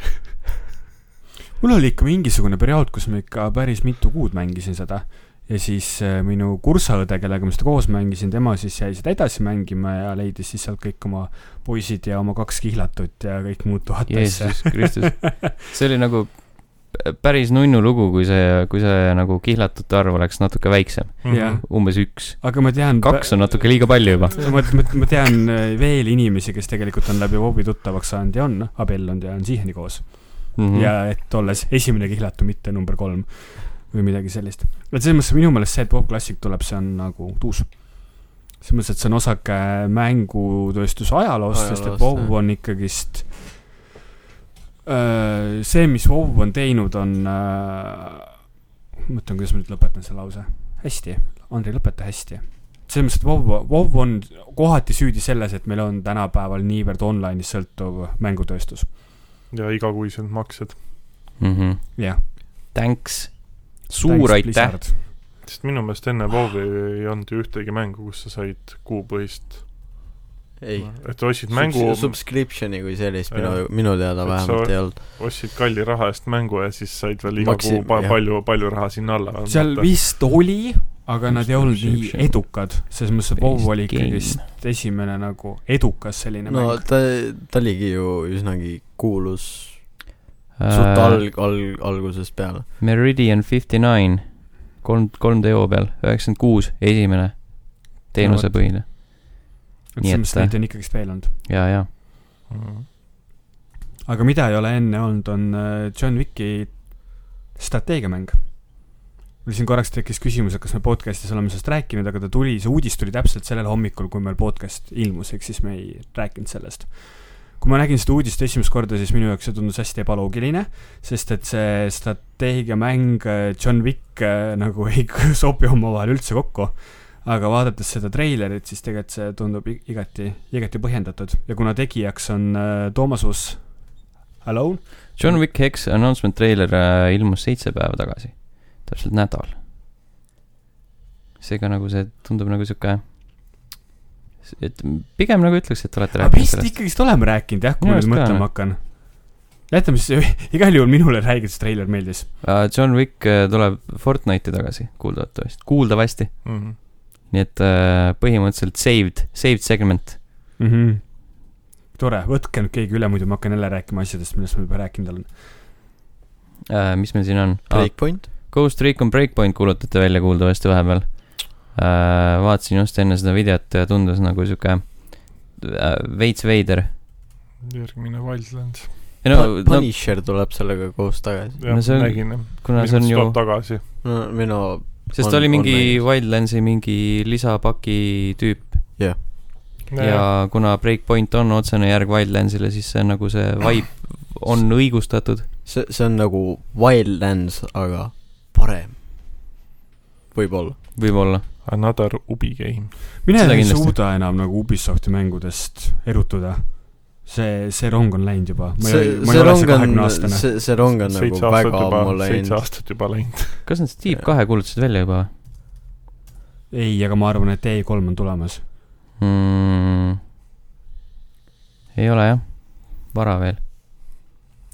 mul oli ikka mingisugune periood , kus ma ikka päris mitu kuud mängisin seda ja siis äh, minu kursaõde , kellega ma seda koos mängisin , tema siis jäi seda edasi mängima ja leidis siis sealt kõik oma poisid ja oma kaks kihlatut ja kõik muud tuhat asja . *laughs*
Jeesus Kristus , see oli nagu p- päris nunnu lugu , kui see , kui see nagu kihlatute arv oleks natuke väiksem ,
Mhm.
Jah.
umbes üks .
aga ma tean .
kaks on natuke liiga palju juba .
ma , ma , ma tean äh, veel inimesi , kes tegelikult on läbi Bobby tuttavaks saanud ja on abiellunud ja on siiani koos mm.
Mhm.
ja et olles esimene kihlatu , mitte number kolm või midagi sellist . et selles mõttes minu meelest see , et Bob Classic tuleb , see on nagu tuus . selles mõttes , et see on osake mängutööstuse ajaloost , sest et
Ajaloost,
Bob
jah.
on ikkagist öö, see , mis WoW on teinud , on , ma mõtlen , kuidas ma nüüd lõpetan selle lause . hästi , Andrei , lõpeta hästi . selles mõttes , et WoW , WoW on kohati süüdi selles , et meil on tänapäeval niivõrd online'is sõltuv mängutööstus .
ja igakuised maksed .
jah .
Mhm. Thanks , suur aitäh ..
sest minu meelest enne WoW-i ei olnud ju ühtegi mängu , kus sa said kuupõhist ,
ei .
et ostsid mängu ,
Subscription'i kui sellist
Jah.
minu , minu teada
Et
vähemalt
sa-
ei olnud .
ostsid kalli raha eest mängu ja siis said veel iga
Maksid-
kuu pa-
jah.
palju , palju raha sinna alla .
seal vist oli , aga nad ei olnud nii
Subscription.
edukad , selles mõttes , et WoW oli
Based game.
ikkagist esimene nagu edukas selline
no
mäng .
ta , ta oligi ju üsnagi kuulus suht alg- , alg- , algusest peale .
Meridian fifty nine , kolm , kolm teo peal , üheksakümmend kuus , esimene teenusepõhine
et
nii et-
selles
äh,
mõttes neid on ikkagist veel olnud .
ja , ja
Mhm.
aga mida ei ole enne olnud , on äh, John Wicki strateegiamäng . mul siin korraks tekkis küsimus , et kas me podcast'is oleme sellest rääkinud , aga ta tuli , see uudis tuli täpselt sellel hommikul , kui meil podcast ilmus , ehk siis me ei rääkinud sellest . kui ma nägin seda uudist esimest korda , siis minu jaoks see tundus hästi ebaloogiline , sest et see strateegiamäng äh, John Wick äh, nagu ei *laughs* sobi omavahel üldse kokku . aga vaadates seda treilerit , siis tegelikult see tundub i- igati , igati põhjendatud ja kuna tegijaks on äh, Toomas Uus Alone ,
John Wick Hex announcement treiler äh, ilmus seitse päeva tagasi , täpselt nädal . seega nagu see tundub nagu sihuke , et pigem nagu ütleks , et olete
aga
rääkinud
vist
sellest .
ikkagist oleme rääkinud jah , kui
Minu
ma
arust
nüüd
ka
mõtlema
oleme.
hakkan . jätame siis , *laughs* igal juhul minule räägitud see treiler meeldis .
John Wick äh, tuleb Fortnite'i tagasi kuuldatavasti , kuuldavasti ,
Mhm.
nii et äh, põhimõtteliselt saved , saved segment .
mm . -hmm. tore , võtke nüüd keegi üle , muidu ma hakkan jälle rääkima asjadest , millest ma juba rääkinud olen .
äh, mis meil siin on ?
Ah. Breakpoint .
Ghost Recon Breakpoint kuulutati välja kuuldavasti vahepeal . vaatasin just enne seda videot ja tundus nagu sihuke äh, veits veider .
järgmine Wildlands .
ei no , no
Punisher tuleb sellega koos tagasi .
jah
No see on- ,
nägin jah .
kuna see on ju ,
tagasi .
no minu ,
sest
on-
ta oli
on
mingi
mängus.
Wildlandsi mingi lisapaki tüüp ja
ja
kuna Breakpoint on otsene järg Wildlandsile , siis see on nagu see vibe on õigustatud .
see , see on nagu Wildlands , aga parem . võib-olla .
võib-olla .
Another Ubi game .
mina
Seda
ei
kindlasti.
suuda enam nagu Ubisofti mängudest erutuda . see , see rong on läinud juba . ma
see
ei , ma
see
ei ole
rong
see
on
kahekümne , aastane .
see , see rong on
seitse
nagu
aastat
väga
juba
ammu ,
seitse
läinud .
aastat juba läinud .
kas nad Steep kahe kuulutasid välja juba või ?
ei , aga ma arvan , et E3 E on tulemas .
mm, . ei ole jah , vara veel .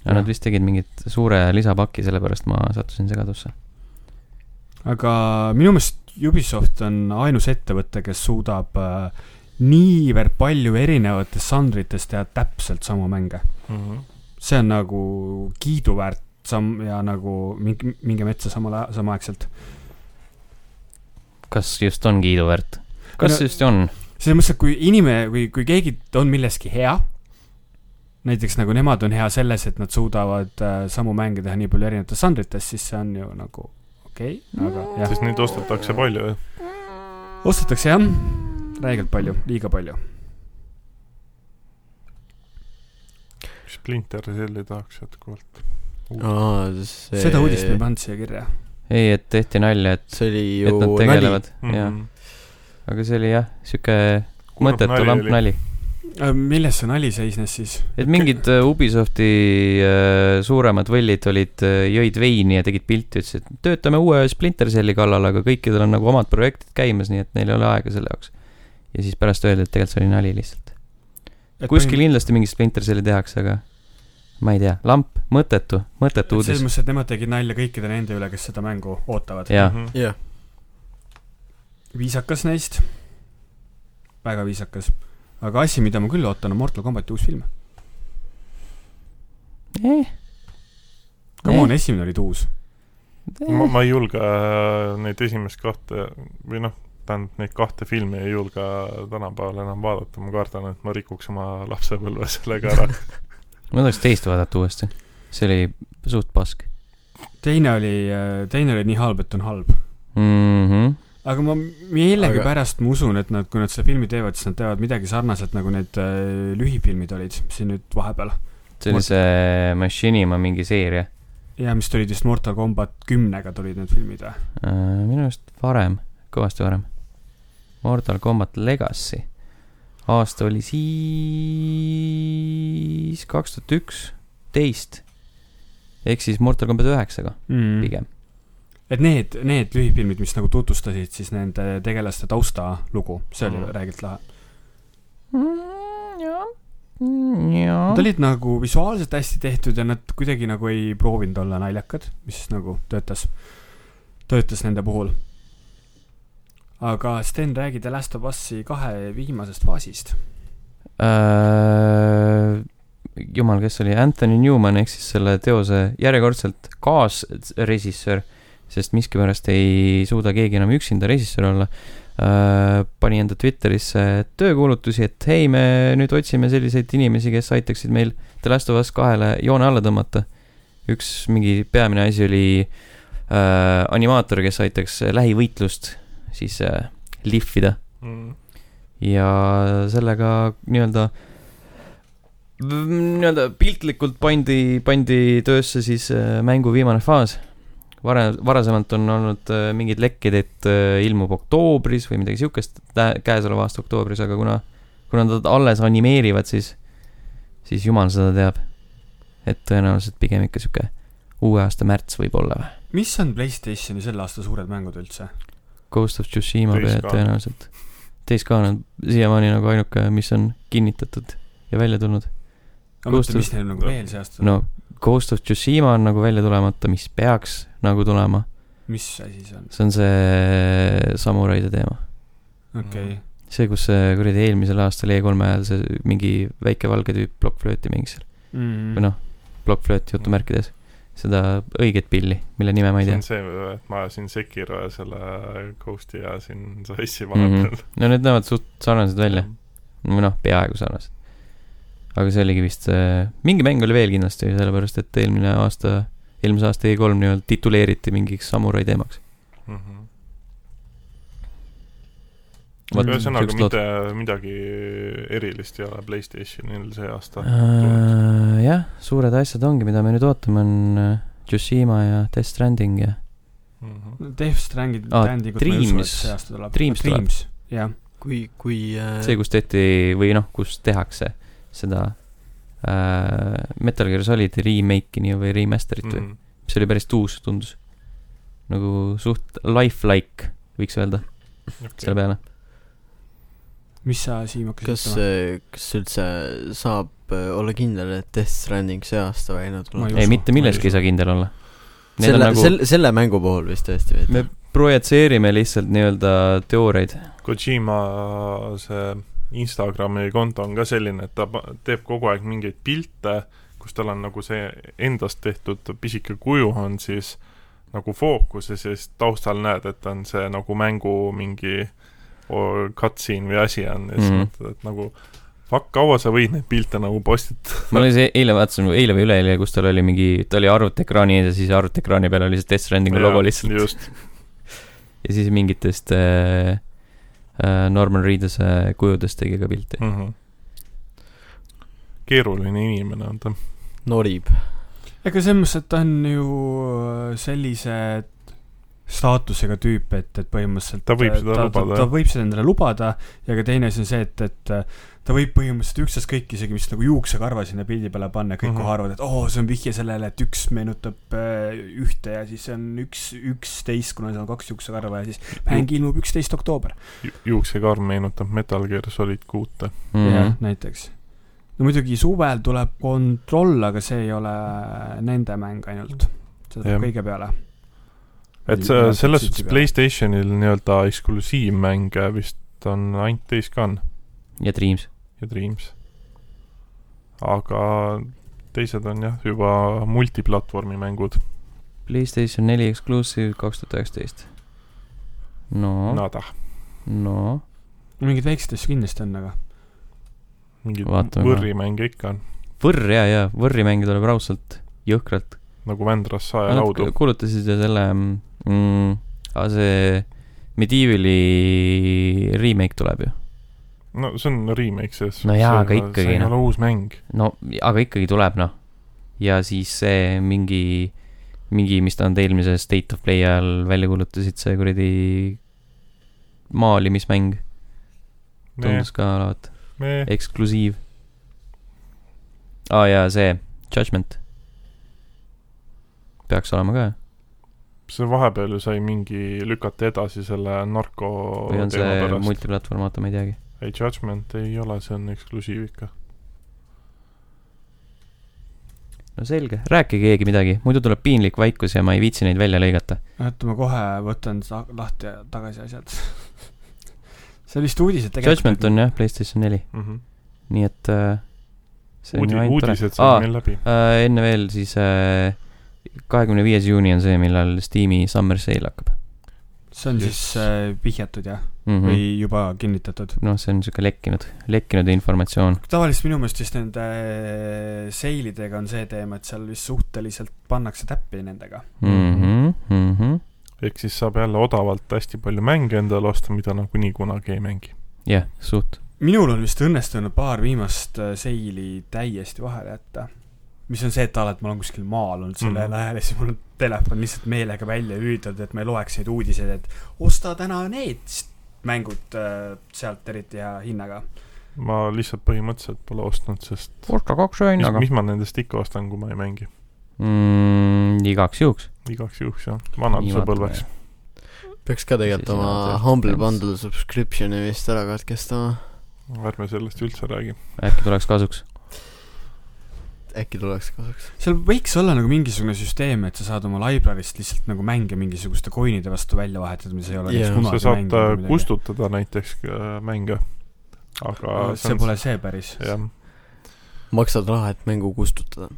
aga nad vist tegid mingit suure lisapaki , sellepärast ma sattusin segadusse .
aga minu meelest Ubisoft on ainus ettevõte , kes suudab äh, niivõrd palju erinevates žanrites teha täpselt samu mänge .
mm . -hmm.
see on nagu kiiduväärt samm ja nagu minge , minge metsa samal ajal , samaaegselt .
kas just on kiiduväärt ? kas
No-
no, just on ?
selles mõttes , et kui inimene , kui , kui keegi on milleski hea , näiteks nagu nemad on hea selles , et nad suudavad äh, samu mänge teha nii palju erinevates žanrites , siis see on ju nagu okei okay, , aga jah .
sest neid ostetakse palju , jah .
ostetakse jah , räigelt palju , liiga palju .
Splinter Celli tahaks jätkuvalt .
aa , see .
seda uudist me ei pannud siia kirja .
ei , et tehti nalja , et ,
see oli ju
et nad
nali .
tegelevad , jaa .
Mhm.
aga see oli jah , sihuke mõttetu lamp . nali .
Äh, milles see nali seisnes siis ?
et mingid äh, Ubisofti äh, suuremad võllid olid , jõid veini ja tegid pilti , ütlesid , et töötame uue Splinter Celli kallal , aga kõikidel on nagu omad projektid käimas , nii et neil ei ole aega selle jaoks . ja siis pärast öeldi , et tegelikult see oli nali lihtsalt . kuskil kindlasti mingi Splinter Celli tehakse , aga ma ei tea , lamp , mõttetu , mõttetu
selles
uudis .
mõttes , et nemad tegid nalja kõikide nende üle , kes seda mängu ootavad .
jaa ,
Mhm.
jah ,
viisakas neist , väga viisakas . aga asi , mida ma küll ootan , on Mortal Combati uus film .
Eh.
Come on , esimene oli uus .
ma , ma ei julge äh, neid esimest kahte või noh , tähendab neid kahte filmi ei julge tänapäeval enam vaadata , ma kardan , et ma rikuks oma lapsepõlve sellega ära .
ma tahaks teist vaadata uuesti . see oli suht pask
teine oli , teine oli nii halb , et on halb .
mm . -hmm.
aga ma millegipärast ma usun , et nad , kui nad seda filmi teevad , siis nad teevad midagi sarnaselt , nagu need äh, lühifilmid olid siin nüüd vahepeal .
see oli
Mul-
see Machinima mingi seeria
ja mis tulid vist Mortal Combat kümnega tulid need filmid või ?
Äh, minu arust varem , kõvasti varem . Mortal Combat Legacy . aasta oli siis kaks tuhat üks , teist . ehk siis Mortal Combat üheksaga
mm. .
pigem .
et need , need lühifilmid , mis nagu tutvustasid siis nende tegelaste taustalugu , see oli
Mhm.
mm. räigelt lahe .
Mm, jah ,
Nad
jah .
olid nagu visuaalselt hästi tehtud ja nad kuidagi nagu ei proovinud olla naljakad , mis nagu töötas , töötas nende puhul . aga Sten , räägi The Last of Us'i kahe viimasest faasist .
Äh, jumal , kes see oli , Anthony Newman ehk siis selle teose järjekordselt kaasrežissöör , sest miskipärast ei suuda keegi enam üksinda režissöör olla . pani enda Twitterisse töökuulutusi , et hei , me nüüd otsime selliseid inimesi , kes aitaksid meil The Last of Us kahele joone alla tõmmata . üks mingi peamine asi oli äh, animaator , kes aitaks lähivõitlust siis äh, lihvida
Mm.
ja sellega nii-öelda , nii-öelda piltlikult pandi , pandi töösse siis äh, mängu viimane faas . Vare- , varasemalt on olnud äh, mingid lekked , et äh, ilmub oktoobris või midagi siukest , käesoleva aasta oktoobris , aga kuna , kuna nad alles animeerivad , siis , siis jumal seda teab . et tõenäoliselt pigem ikka sihuke uue aasta märts võib-olla või .
mis on Playstationi selle aasta suured mängud üldse ?
Ghost of Tsushima
Days
peale
Gone.
tõenäoliselt . Days Gone on siiamaani nagu ainuke , mis on kinnitatud ja välja tulnud .
ma mõtlen ,
Ghost
mis neil nagu
No.
veel see aasta
no Ghost of Tsushima on nagu välja tulemata , mis peaks nagu tulema .
mis asi see on ?
see on see samuraide teema .
okei
Mhm. Mm.
okay. .
see , kus see kuradi eelmisel aastal E3-e ajal see mingi väike valge tüüp plokkflööti mängis seal .
mm.
või noh , plokkflööti jutumärkides . seda õiget pilli , mille nime ma ei
see
tea
on . see , et ma ajasin Sekiro ja selle Ghosti ja siin sassi
Mhm.
vahepeal .
no need näevad suht sarnased välja . või noh , peaaegu sarnased . aga see oligi vist see , mingi mäng oli veel kindlasti , sellepärast et eelmine aasta , eelmise aasta E3 nii-öelda tituleeriti mingiks samurai teemaks .
Mhm.
Vaat,
ühesõnaga ,
siukest
mitte midagi erilist ei ole Playstationil see aasta .
Äh, jah , suured asjad ongi , mida me nüüd ootame , on äh, Tsushima ja Death Stranding ja
Mhm.
Death Stranding
Aa,
Strandingut ma ei usu, et
Dreams.
see aasta tuleb .
Dreams tuleb.
Dreams , jah .
kui , kui äh,
see , kus tehti või noh , kus tehakse seda äh, Metal Gear Solid remake'i nii- või remaster'it
Mhm.
või , mis oli päris uus , tundus . nagu suht lifelike , võiks öelda selle peale .
mis sa, Siim , hakkasid
kas
äh,
äh,
ütlema ?,
kas üldse saab äh, olla kindel , et Death Stranding see aasta välja
Ma
tuleb ?
ei ,
usu,
mitte
ma ei
milleski
usu.
ei saa kindel olla . Need
selle
on
nagu... ,
nagu ,
selle , selle mängu puhul vist tõesti
me
või ?
projitseerime lihtsalt nii-öelda teooriaid .
Kojima see Instagrami konto on ka selline , et ta pa- teeb kogu aeg mingeid pilte , kus tal on nagu see endast tehtud pisike kuju on siis nagu fookuses ja siis taustal näed , et on see nagu mängu mingi o- cutscene või asi on ja siis
Mhm.
mm. mõtled , et nagu fuck , kaua sa võid neid pilte nagu postitada
ma olin see eile vaatasin , eile või üleeile , kus tal oli mingi , ta oli arvutiekraani ees ja siis arvutiekraani peal oli see Death Strandingu logo lihtsalt .
just ,
ja siis mingitest äh, äh, Norman Reeduse kujudest tegi ka pilte .
mm . -hmm. keeruline inimene on ta .
norib .
ega selles mõttes , et ta on ju äh, sellise staatusega tüüp , et , et põhimõtteliselt äh,
Ta võib seda
ta,
lubada,
ta, ta
jah.
võib seda endale lubada ja ka teine asi on see , et , et äh, ta võib põhimõtteliselt ükstaskõik isegi , mis nagu juuksekarva sinna pildi peale panna , kõik
Mhm.
kohe arvavad , et oo , see on vihje sellele , et üks meenutab äh, ühte ja siis see on üks , üksteist , kuna seal on kaks juuksekarva ja siis mäng ilmub üksteist oktoober
juuksekarm meenutab Metal Gear Solid kuute .
Mm
jah
-hmm. ,
näiteks . no muidugi suvel tuleb Control , aga see ei ole nende mäng ainult .
Jah.
see tuleb kõige peale .
et see , selles suhtes . Playstationil nii-öelda eksklusiivmänge vist on ainult Days Gone
ja Dreams .
ja Dreams . aga teised on jah , juba multiplatvormi mängud
Playstation neli exclusive kaks tuhat üheksateist .
oh. ,
no ,
nada ,
no
mingeid väikseid asju kindlasti on , aga
mingeid
Vaatame.
võrrimänge ikka on ,
Võrr ja , ja Võrrimänge tuleb raudselt , jõhkralt .
nagu Vändras
Nad
saelaudu .
kuulutasid ju selle mm, , see Medievali remake tuleb ju .
no see on remake , sest
No jaa, aga
see,
ikkagi,
see ei
noh.
ole uus mäng .
no aga ikkagi tuleb noh . ja siis see mingi , mingi , mis ta on eelmise State of Play ajal välja kuulutasid , see kuradi maalimismäng
me ,
tundus ka olevat
me ,
eksklusiiv . aa ah, jaa , see Judgment . peaks olema ka
see vahepeal ju sai mingi , lükati edasi selle narko
või on
teema
see
pärast.
multiplatvorm , oota ma ei teagi .
ei , Judgment ei ole , see on eksklusiiv ikka .
no selge , rääkige keegi midagi , muidu tuleb piinlik vaikus ja ma ei viitsi neid välja lõigata .
oota , noh, ma kohe võtan sa- lahti ja tagasi asjad . *laughs* see oli vist uudised
Judgment on jah , Playstation neli ,
Mm -hmm.
nii et äh, see on
Uudi,
ju ainult
uudised said
tore .
meil läbi .
Äh, enne veel siis äh, kahekümne viies juuni on see , millal Steam'i Summer Sale hakkab
see on siis
Yes.
äh, vihjatud jah ,
mm .
või
-hmm.
juba kinnitatud .
noh , see on siuke lekkinud , lekkinud informatsioon .
tavaliselt minu meelest just nende seilidega on see teema , et seal vist suhteliselt pannakse täppi nendega .
Mhm.
Mm -hmm.
ehk siis saab jälle odavalt hästi palju mänge endale osta , mida nagunii kunagi ei mängi .
jah , suht .
minul on vist õnnestunud paar viimast äh, seili täiesti vahele jätta . mis on see , et alati ma olen kuskil maal olnud sellel
Mhm.
mm. ajal ja siis mul on telefon lihtsalt meelega välja lülitatud , et ma ei loeks neid uudiseid , et osta täna need s- mängud äh, sealt eriti hea hinnaga .
ma lihtsalt põhimõtteliselt pole ostnud , sest
osta kaks
mis,
hinnaga .
mis ma nendest ikka ostan , kui ma ei mängi .
Mm, igaks juhuks .
igaks juhuks jah , vanaduspõlveks .
peaks ka tegelikult
Siis
oma
on
Humble
see-
Bundle subscription'i vist ära katkestama .
ärme sellest üldse räägi .
äkki tuleks kasuks .
äkki tuleks kasuks .
seal võiks olla nagu mingisugune süsteem , et sa saad oma library'st lihtsalt nagu mänge mingisuguste coin'ide vastu välja vahetada , mis ei ole
Jaa.
yeah.
sa
kunagi
saad
mänginud
äh,
või midagi.
kustutada näiteks äh, mänge . aga
see pole Mhm. see päris .
jah ,
maksad raha , et mängu kustutada .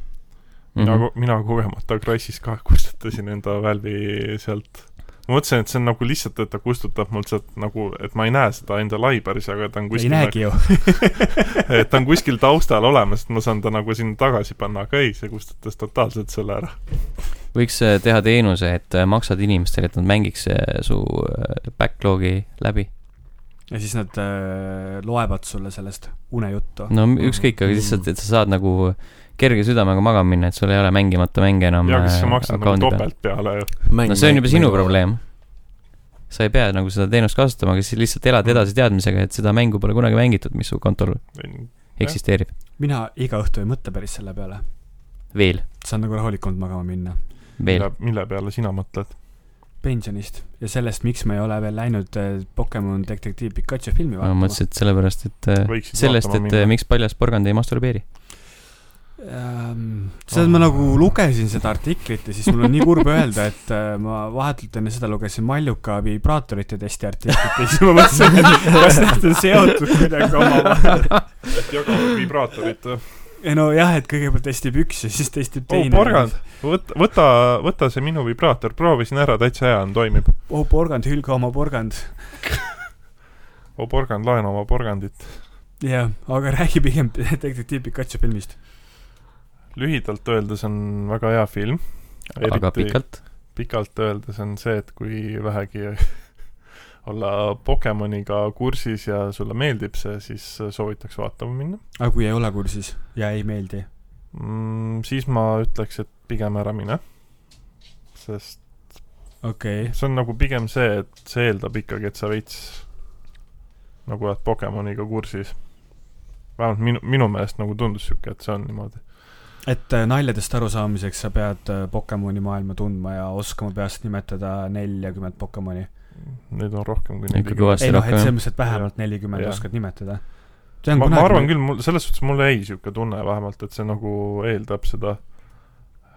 mina ,
Mhm.
mina kogemata Crysis ka *laughs* kustutasin enda välvi sealt . ma mõtlesin , et see on nagu lihtsalt , et ta kustutab mul sealt nagu , et ma ei näe seda enda library's , aga ta on
ei
kuskil nagu
näegi ju .
et ta on kuskil taustal olemas , et ma saan ta nagu sinna tagasi panna , aga ei , see kustutas totaalselt selle ära .
võiks äh, teha teenuse , et äh, maksad inimestele , et nad mängiks äh, su äh, backlog'i läbi .
ja siis nad äh, loevad sulle sellest unejuttu .
no m- ükskõik ,
Mm.
aga lihtsalt , et sa saad nagu kerge südamega magama minna , et sul ei ole mängimata mänge enam .
ja kas sa maksad nagu . topelt peale ju .
no see on juba sinu .
*laughs*
probleem . sa ei pea nagu seda teenust kasutama , aga siis lihtsalt elad edasi teadmisega , et seda mängu pole kunagi mängitud , mis su kontol eksisteerib .
mina iga õhtu ei mõtle päris selle peale ,
veel ,
saan nagu rahulikult magama minna .
veel .
mille peale sina mõtled ?
pensionist ja sellest , miks ma ei ole veel läinud äh, Pokemon detektiiv Pikachu filmi
ma
vaatama .
mõtlesin , et sellepärast , et äh,
Võiksid
sellest ,
vaatama
et
minna.
äh, miks paljas porgand ei masturbeeri .
Ähm, seda ma nagu lugesin seda artiklit ja siis mul on nii kurb öelda , et äh, ma vahetult enne seda lugesin Malluka vibraatorite testi artiklit ja siis ma mõtlesin , et kas need on seotud kuidagi omavahel .
*laughs*
et jagavad vibraatorit .
ei no jah , et kõigepealt testib üks ja siis testib
oh
teine .
porgand , võta , võta , võta see minu vibraator , proovisin ära , täitsa hea on , toimib .
oh porgand , hülga oma porgand .
oh porgand , laena oma porgandit .
jah , aga räägi pigem detektiiv Pikachu filmist .
lühidalt öeldes on väga hea film .
aga . pikalt .
pikalt öeldes on see , et kui vähegi *laughs* olla Pokemoniga kursis ja sulle meeldib see , siis soovitaks vaatama minna
aga kui ei ole kursis ja ei meeldi ?
mm, . siis ma ütleks , et pigem ära mine . sest
okei okay. ,
see on nagu pigem see , et see eeldab ikkagi , et sa veits nagu oled Pokemoniga kursis . vähemalt minu , minu meelest nagu tundus sihuke , et see on niimoodi .
et äh, naljadest arusaamiseks sa pead äh, Pokemoni maailma tundma ja oskama peast nimetada neljakümmet Pokemoni .
Neid on rohkem kui
Ikka kõvasti.
ei noh , et
rohkem, jah.
selles mõttes , et vähemalt nelikümmend
Jah.
oskad nimetada .
ma , ma arvan küll , mul , selles suhtes mul jäi sihuke tunne vähemalt , et see nagu eeldab seda .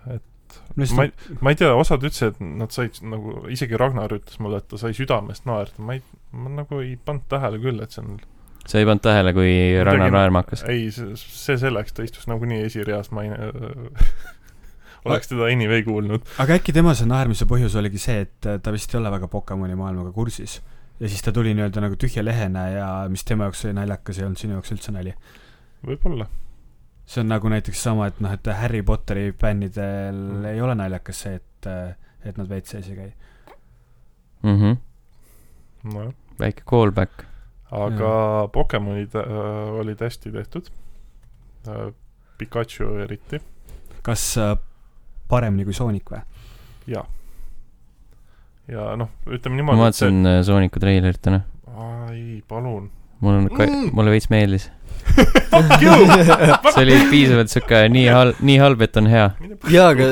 ma
küll .
ei , ma ei tea , osad ütlesid , et nad said nagu , isegi Ragnar ütles mulle , et ta sai südamest naerda , ma ei , ma nagu ei pannud tähele küll , et see on
sa ei pannud tähele , kui Ragnar
Kuidagi-
naerma hakkas ?
ei , see , see selleks , ta istus nagunii esireas , ma *laughs* ei oleks teda anyway kuulnud .
aga äkki tema see naermise põhjus oligi see , et äh, ta vist ei ole väga Pokemoni maailmaga kursis ja siis ta tuli nii-öelda nagu tühja lehena ja mis tema jaoks oli naljakas , ei olnud sinu jaoks üldse nali .
võib-olla .
see on nagu näiteks sama , et noh , et Harry Potteri fännidel mm. ei ole naljakas see , et , et nad WC-s ei käi .
mhmh ,
nojah ,
väike callback .
aga Pokemonid äh, olid hästi tehtud äh, . Pikachu eriti .
kas äh, paremini kui Sonic või ?
ja noh , ütleme
ma
niimoodi , et see ,
vaatasin äh, Sooniku treilerit täna .
ai ,
*laughs*
palun .
mul on
Mm. ,
mulle veits meeldis .
Fuck you !
*laughs* see oli piisavalt sihuke nii halb , nii halb , et on hea .
*laughs* jaa , aga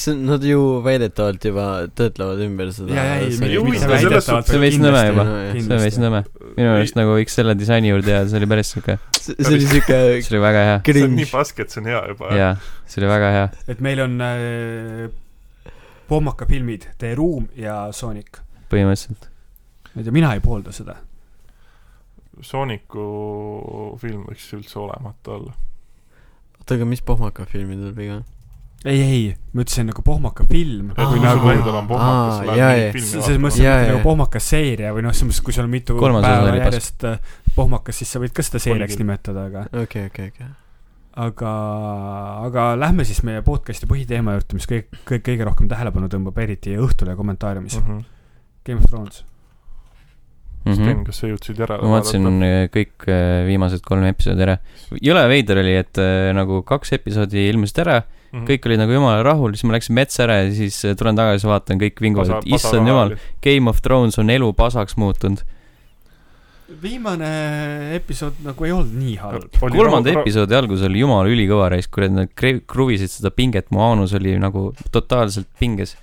see , nad ju väidetavalt juba töötlevad ümber seda .
jaa , jaa , ei ,
ei
mitte
huvita,
mitte
selles suhtes-
väidetavalt .
see on veits nõme juba. see on
kindlasti.
veits nõme . minu arust nagu võiks selle disaini juurde jääda , see oli päris sihuke ,
see see oli siuke
see oli väga hea .
see on nii
cringe .
paske , et see on hea juba .
jaa , see oli väga hea .
et meil on äh, pommakafilmid The Room ja Sonic .
põhimõtteliselt .
ma ei tea , mina ei poolda seda .
Sooniku film võiks üldse olemata olla .
oota , aga mis pohmaka filmi tuleb iga ?
ei , ei , ma ütlesin nagu pohmakafilm
et kui
või
Aa.
nagu
nagu
endal on pohmakas ,
Aa,
sa
jaa,
lähed
jaa.
mingit filmi
selles mõttes ,
vaatama .
et
Jaa,
mitte
jaa.
nagu pohmakas seeria või noh , selles mõttes , kui sul on mitu
Kolmas osa
päeva
oli pask.
järjest äh, pohmakas , siis sa võid ka seda seeriaks
Oligi.
nimetada , aga
okei , okei , okei .
aga , aga lähme siis meie podcast'i põhiteema juurde , mis kõik , kõik kõige rohkem tähelepanu tõmbab , eriti Õhtule kommentaariumis
Mhm.
mm . -hmm. Game of Thrones .
Mhm.
Sten , kas sa jõudsid järele
Mhm. ma vaatasin äh, kõik äh, viimased kolm episoodi ära . jõle veider oli , et äh, nagu kaks episoodi ilmusid ära ,
Mhm.
kõik olid nagu jumala rahul , siis ma läksin metsa ära ja siis äh, tulen tagasi , vaatan kõik vinguvad ,
Pasa-
et issand
pasaraha
jumal
oli. ,
Game of Thrones on elu pasaks muutunud .
viimane episood nagu ei olnud nii halb .
Oli
kolmanda
raud-
episoodi alguses oli jumala ülikõva raisk , kuradi nad kre- kruvisid seda pinget , mu anus oli nagu totaalselt pinges .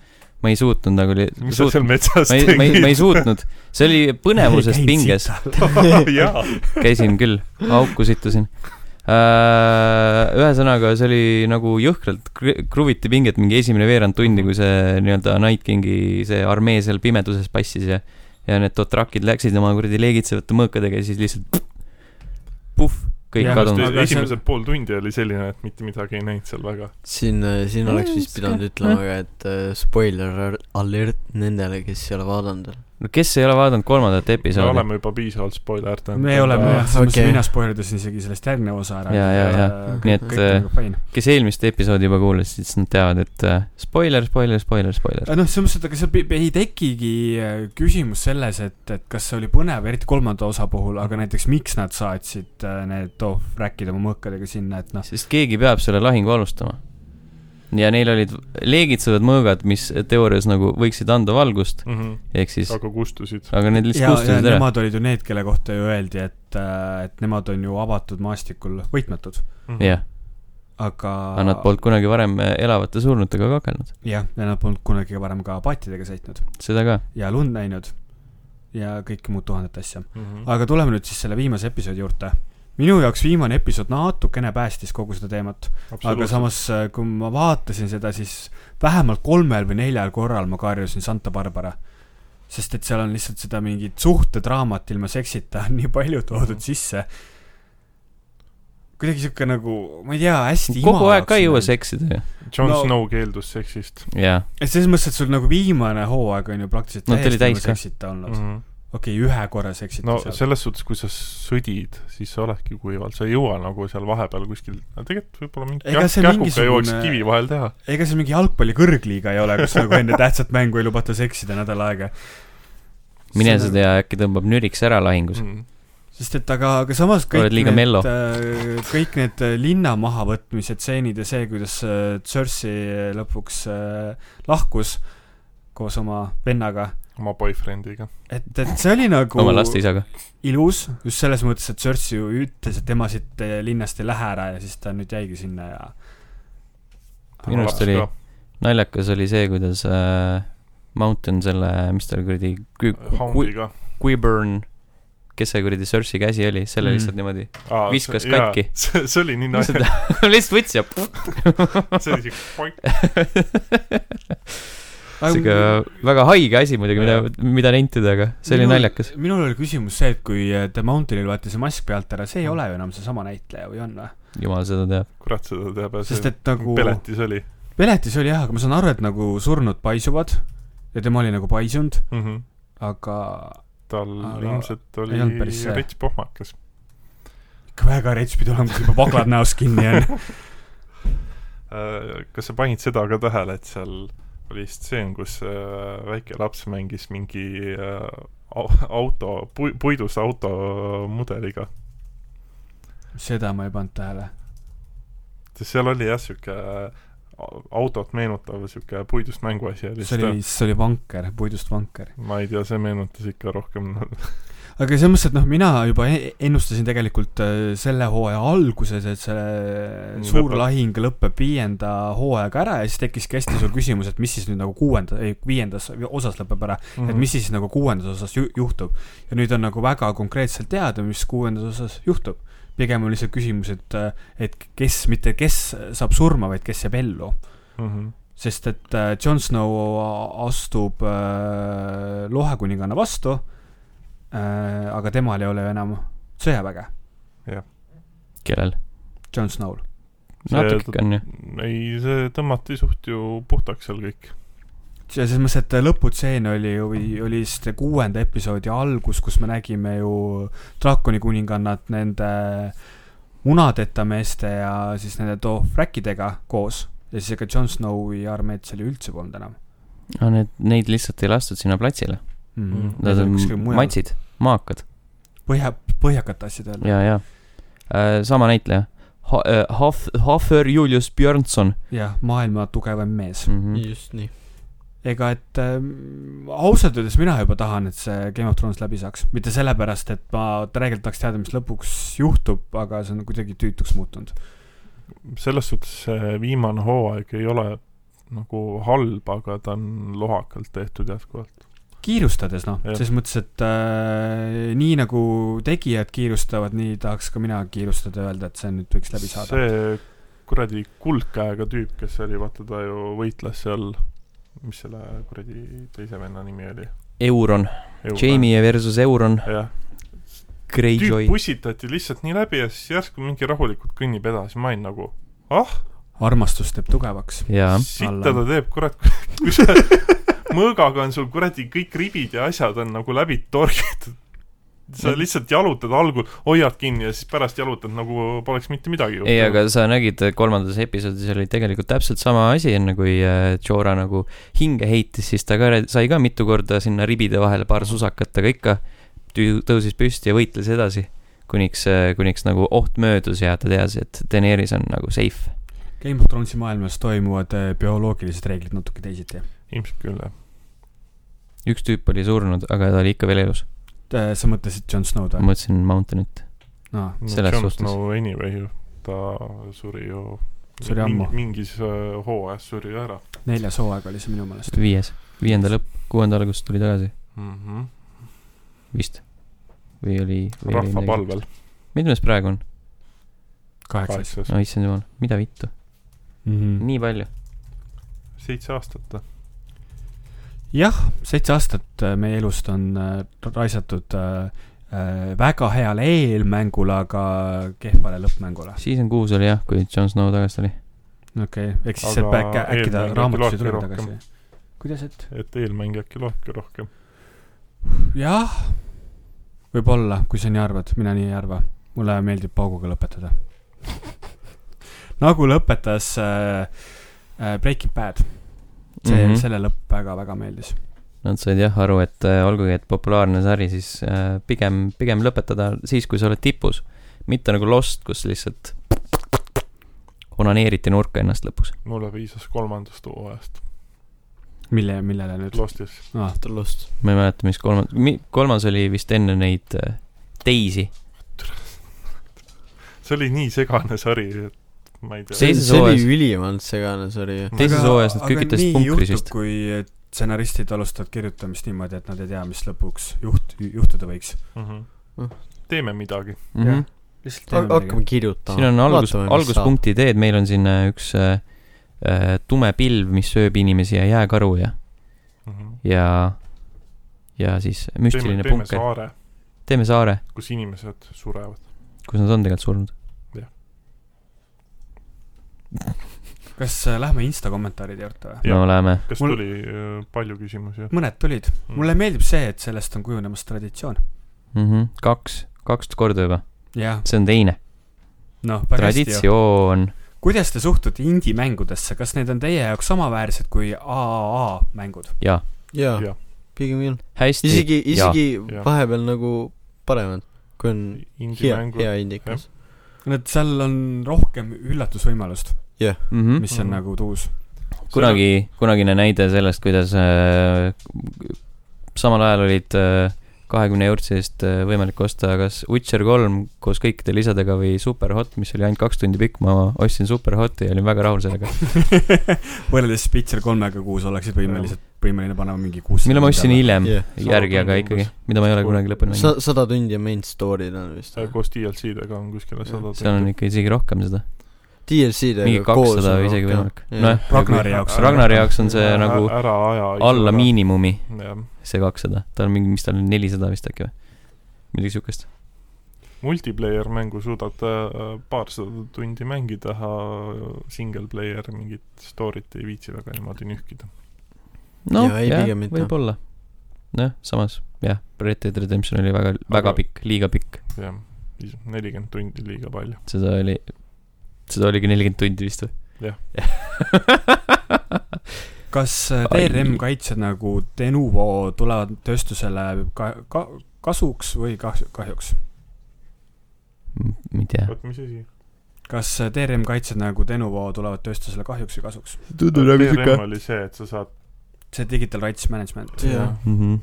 ma ei suutnud nagu li-
ra- , mis sa
suut-
seal metsas
ma ei , ma ei , ma ei suutnud , see oli
*laughs*
põnevusest pinges .
suutnud . *laughs* jaa ,
käisin küll , auku sittusin . ühesõnaga , see oli nagu jõhkralt kr- kruviti pinget mingi esimene veerand tundi ,
Mhm.
kui see nii-öelda Night Kingi see armee seal pimeduses passis ja , ja need totrakid läksid oma kuradi leegitsevate mõõkadega ja siis lihtsalt puhh , kõik
Jah,
kadunud .
aga seal-
esimesed pool tundi oli selline , et mitte midagi ei näinud seal väga .
siin , siin oleks vist pidanud ütlema ka , et äh, spoiler alert nendele , kes ei ole vaadanud veel .
no kes ei ole vaadanud kolmandat
me
episoodi ?
oleme juba piisavalt spoilerdanud .
me oleme jah , selles mõttes
okei.
mina spoildasin isegi sellest järgneva osa ära .
Jaa, jaa, jaa. Nii et, äh,
nagu
kes eelmist episoodi juba kuulas , siis nad teavad , et äh, spoiler , spoiler , spoiler , spoiler .
noh , selles mõttes , et ega seal pi- ei tekigi äh, küsimus selles , et , et kas see oli põnev , eriti kolmanda osa puhul , aga näiteks miks nad saatsid äh, need off-räkid oma mõõkadega sinna , et noh ,
sest keegi peab selle lahingu alustama . ja neil olid leegitsevad mõõgad , mis teoorias nagu võiksid anda valgust , ehk siis ,
Mhm. aga kustusid .
aga need
ja ,
lihtsalt
ja
kustusid ära .
nemad olid ju äh, need , kelle
Mhm.
kohta ju öeldi , et , et nemad on ju avatud maastikul võitmatud .
jah ,
aga
aga nad polnud kunagi varem äh, elavate surnutega kakelnud ,
jah , ja nad polnud kunagi varem ka paatidega sõitnud
seda ka .
ja lund näinud ja kõike muud tuhandet asja .
Mhm.
-hmm.
aga tuleme nüüd siis selle viimase episoodi juurde . minu jaoks viimane episood natukene päästis kogu seda teemat , aga samas , kui ma vaatasin seda , siis vähemalt kolmel või neljal korral ma karjusin Santa Barbara . sest et seal on lihtsalt seda mingit suhtedraamat ilma seksita *laughs* on nii palju toodud
Mhm.
sisse . kuidagi sihuke nagu , ma ei tea , hästi nagu.
kogu aeg
imalaks
ka ei jõua
mõeldud.
seksida ju .
Jon
no-
no. Snow keeldus seksist
jaa ,
et selles mõttes , et sul nagu viimane hooaeg on ju praktiliselt
No ta oli
täiesti
täis
ilma
ka. Mhm.
seksita
mm .
olnud mm. .
-hmm.
okei okay, , ühe korra seksiti
no
seal .
selles suhtes , kui sa sõdid , siis sa oledki kuival , sa ei jõua nagu seal vahepeal kuskil , tegelikult võib-olla mingi
Ega
kähk-
see
kähkuga
mingisugune-
mingisugune... jõuaks kivi vahel teha .
ega see mingi jalgpalli kõrgliiga ei ole , kus nagu enne tähtsat mängu ei lubata seksida nädal aega .
mine sa . tea , äkki tõmbab nüriks ära lahingus .
Mm.
sest et aga , aga samas kõik
Oled liiga mello.
need , kõik need äh, linna mahavõtmise tseenid ja see , kuidas äh, Cersei lõpuks äh, lahkus koos oma vennaga ,
oma boyfriend'iga .
et , et see oli nagu
oma laste isaga .
ilus , just selles mõttes , et Cersei ju ütles , et tema siit äh, linnast ei lähe ära ja siis ta nüüd jäigi sinna ja
Minu arust oli- naljakas oli see , kuidas äh, Mountain selle , mis tal kuradi kui, , kui,
Houndiga .
Quiburn , kes see kuradi Cersei käsi oli , selle
Mm.
mm. lihtsalt niimoodi
Aa,
viskas
see- jaa,
katki.
*laughs* see , see oli nii
no, ,
naljakas ,
*laughs* lihtsalt võttis ja
see oli siuke point .
siuke väga haige asi muidugi , mida , mida nentida , aga see oli
minul,
naljakas ..
minul oli küsimus see , et kui äh, The Mountainil võeti see mask pealt ära , see ei ole ju enam seesama näitleja või on või ?
jumal seda teab .
kurat , seda teab ,
sest
see
et nagu
peletis oli
peletis oli jah , aga ma saan aru , et nagu surnud paisuvad ja tema oli nagu paisunud ,
mm . -hmm.
aga
tal
Aga
aga... ilmselt
ei
oli
olnud päris see.
rets pohmakas .
ikka väga rets pidi olema , kui juba paklad näos kinni on .
Äh, kas sa panid seda ka tähele , et seal oli stseen , kus äh, väike laps mängis mingi äh, au- auto , puidust auto mudeliga .
seda ma ei pannud tähele .
sest seal oli jah , siuke au- autot meenutav siuke puidust mänguasi oli .
see oli , see oli vanker , puidust vanker .
ma ei tea , see meenutas ikka rohkem *laughs* nagu-
aga selles mõttes , et noh , mina juba e- ennustasin tegelikult äh, selle hooaja alguses , et see
Nii,
suur
lõpeb.
lahing lõpeb viienda hooajaga ära ja siis tekkiski hästi suur küsimus , et mis siis nüüd nagu kuuenda , ei viiendas osas lõpeb ära ,
mm.
et mis siis nagu kuuendas osas ju- juhtub . ja nüüd on nagu väga konkreetselt teada , mis kuuendas osas juhtub . pigem on lihtsalt küsimus , et , et kes , mitte kes saab surma , vaid kes jääb ellu .
mm . -hmm.
sest et äh, Jon Snow astub äh, lohakuninganna vastu äh, , aga temal ei ole ju enam sõjaväge ,
kellel ?
Jon Snow'l .
natuke on ju .
ei , see tõmmati suht ju puhtaks seal kõik .
selles mõttes , et lõputseen oli ju , oli vist kuuenda episoodi algus , kus me nägime ju draakoni kuningannat nende munadeta meeste ja siis nende Dothrakidega koos ja siis ega Jon Snowi armeed seal ju üldse polnud enam
aga need , neid lihtsalt ei lastud sinna platsile .
mm. .
Nad on matsid , maakad
põhja , põhjakate asjade all .
ja , ja . Äh, sama näitleja . Hoff , Hoffer Julius Björnson
jah , maailma tugevam mees .
mm . -hmm.
just nii .
ega et ähm, ausalt öeldes mina juba tahan , et see Game of Thrones läbi saaks , mitte sellepärast , et ma tegelikult tahaks teada , mis lõpuks juhtub , aga see on kuidagi tüütuks muutunud .
selles suhtes see viimane hooaeg ei ole nagu halb , aga ta on lohakalt tehtud jätkuvalt .
kiirustades noh ,
Jah.
selles mõttes , et äh, nii nagu tegijad kiirustavad , nii tahaks ka mina kiirustada ja öelda , et see nüüd võiks läbi saada .
see kuradi kuldkäega tüüp , kes oli , vaata ta ju võitles seal , mis selle kuradi teise venna nimi oli ?
Euron , Jamie versus Euron ,
jah ,
Greyjoy
tüüp . pussitati lihtsalt nii läbi ja siis järsku mingi rahulikult kõnnib edasi , ma olin nagu , ah ,
armastus teeb tugevaks .
jaa ,
sitta
alla.
ta teeb , kurat , *laughs* kui sa mõõgaga on sul kuradi kõik ribid ja asjad on nagu läbi torgitud . sa lihtsalt jalutad algul , hoiad kinni ja siis pärast jalutad nagu poleks mitte midagi
ei , aga sa nägid eh, kolmandas episoodis oli tegelikult täpselt sama asi , enne kui eh, Jorah nagu hinge heitis , siis ta ka re- sai ka mitu korda sinna ribide vahele paar susakat , aga ikka tüü- tõusis püsti ja võitles edasi . kuniks , kuniks nagu oht möödus ja ta teadis , et Daenerys on nagu safe .
Game of Thronesi maailmas toimuvad äh, bioloogilised reeglid natuke teisiti .
ilmselt küll jah .
üks tüüp oli surnud , aga ta oli ikka veel elus .
Äh, sa mõtlesid Jon Snow'd
ma
või ? Noh,
mõtlesin Mountainit .
aa ,
Selles suhtes.
no anyway ju , ta suri ju
see oli ammu.
mingis äh, hooajas suri ära
neljas hooaeg oli see minu meelest .
viies , viienda lõpp , kuuenda alguses tuli tagasi ,
mm .
Mhm.
-hmm.
vist . või oli .
rahvapalvel .
mitmes praegu on ?
kaheksas .
kaheksas ,
no issand jumal , mida vittu ,
Mhm.
nii palju .
seitse aastat .
jah , seitse aastat äh, meie elust on äh, raisatud äh, äh, väga heale eelmängule , aga kehvale lõppmängule .
Season kuus oli jah , kui Jon Snow tagasi tuli .
okei okay. , ehk siis see
Aga
äkki , äkki ta
eelmäng
raamatus ei
loeti
tule
rohkem.
tagasi . kuidas , et ?
et eelmäng äkki loebki rohkem .
jah , võib-olla , kui sa nii arvad , mina nii ei arva . mulle meeldib pauguga lõpetada . *laughs* nagu lõpetas äh, äh, Breaking Bad , see mm , -hmm. selle lõpp väga-väga meeldis .
Nad said jah aru , et äh, olgugi , et populaarne sari , siis äh, pigem , pigem lõpetada siis , kui sa oled tipus . mitte nagu Lost , kus lihtsalt onaneeriti nurka ennast lõpuks .
mulle piisas kolmandast hooajast .
mille , millele nüüd ?
Lostis .
Ah,
Lost .
ma ei mäleta , mis kolmas , kolmas oli vist enne neid äh, teisi .
see oli nii segane sari , et ma ei tea .
See-
see
Teises
oli
hooajas-
ülimalt segane sari ju .
teises
Aga-
hooajas nad
aga
kükitasid
nii
punkris
juhtub,
vist.
kui stsenaristid alustavad kirjutamist niimoodi , et nad ei tea , mis lõpuks juht , juhtuda võiks .
Mhm.
Uh.
teeme midagi .
Mm -hmm.
hakkame kirjutama .
siin on algus , alguspunkti ideed , meil on siin äh, üks äh, äh, tume pilv , mis sööb inimesi ja jääkaru ja , ja , ja siis
Mhm. teeme ,
müstiline
teeme
punker .
saare ,
teeme saare ,
kus inimesed surevad .
kus nad on tegelikult surnud .
kas äh, lähme Insta kommentaaride juurde või ?
no
Jah.
läheme .
kas
Mul-
Mul... tuli äh, palju küsimusi ? Mhm.
mõned tulid . mulle meeldib see , et sellest on kujunemas traditsioon .
mm . -hmm. kaks , kaks korda juba ,
jah ,
see on teine .
noh , väga hästi ju .
traditsioon .
kuidas te suhtute indie-mängudesse , kas need on teie jaoks samaväärsed kui AAA mängud ?
jaa
Jah. ,
pigem küll .
hästi .
isegi , isegi
Jaa.
vahepeal nagu paremad , kui on hea ,
indie-mängu
hea indikas .
Need , seal on rohkem üllatusvõimalust ,
Mm -hmm.
mis on
Mhm.
nagu uus .
kunagi , kunagine näide sellest , kuidas äh, samal ajal olid kahekümne eurtsi eest äh, võimalik osta kas Witcher kolm koos kõikide lisadega või Superhot , mis oli ainult kaks tundi pikk , ma ostsin Superhoti ja olin väga rahul sellega .
*laughs* võrreldes Spitzer kolmega , kuhu sa oleksid võimelised , võimeline panema mingi kuus .
mille ma ostsin hiljem
jah ,
järgi , aga ikkagi , mida ma ei ole kunagi lõpuni mänginud .
sa- , sada tundi on main story'd on vist .
Äh,
Äh,
koos DLC-dega on kuskil sada
seal on . ikka isegi rohkem seda , mingi
DLC-dega koos
kakssada või isegi võimalik . nojah ,
Ragnari jaoks .
Ragnari jaoks on see nagu
ära aja .
alla . miinimumi ,
jah ,
see kakssada , tal on mingi , mis tal on , nelisada vist äkki või ? midagi siukest .
multiplayer mängu suudad äh, paarsada tundi mängida , single player mingit story't ei viitsi väga niimoodi nühkida .
noh ,
Jaa, ei,
jah ,
pigem mitte.
võib-olla . nojah , samas jah , Red Dead Redemption oli väga , väga
Aga-
pikk , liiga pikk ,
jah , nelikümmend tundi liiga palju .
seda oli , seda oligi nelikümmend tundi vist või ?
Jah. .
kas äh,
Ai.
DRM kaitsed nagu Denuvo tulevad tööstusele ka, ka, kasuks või kahju , kahjuks ?
ma ei tea ,
vot mis asi ?
kas äh, DRM kaitsed nagu Denuvo tulevad tööstusele kahjuks või kasuks ?
DRM oli see , et sa saad ,
see digital rights management .
Jah.
Mhm,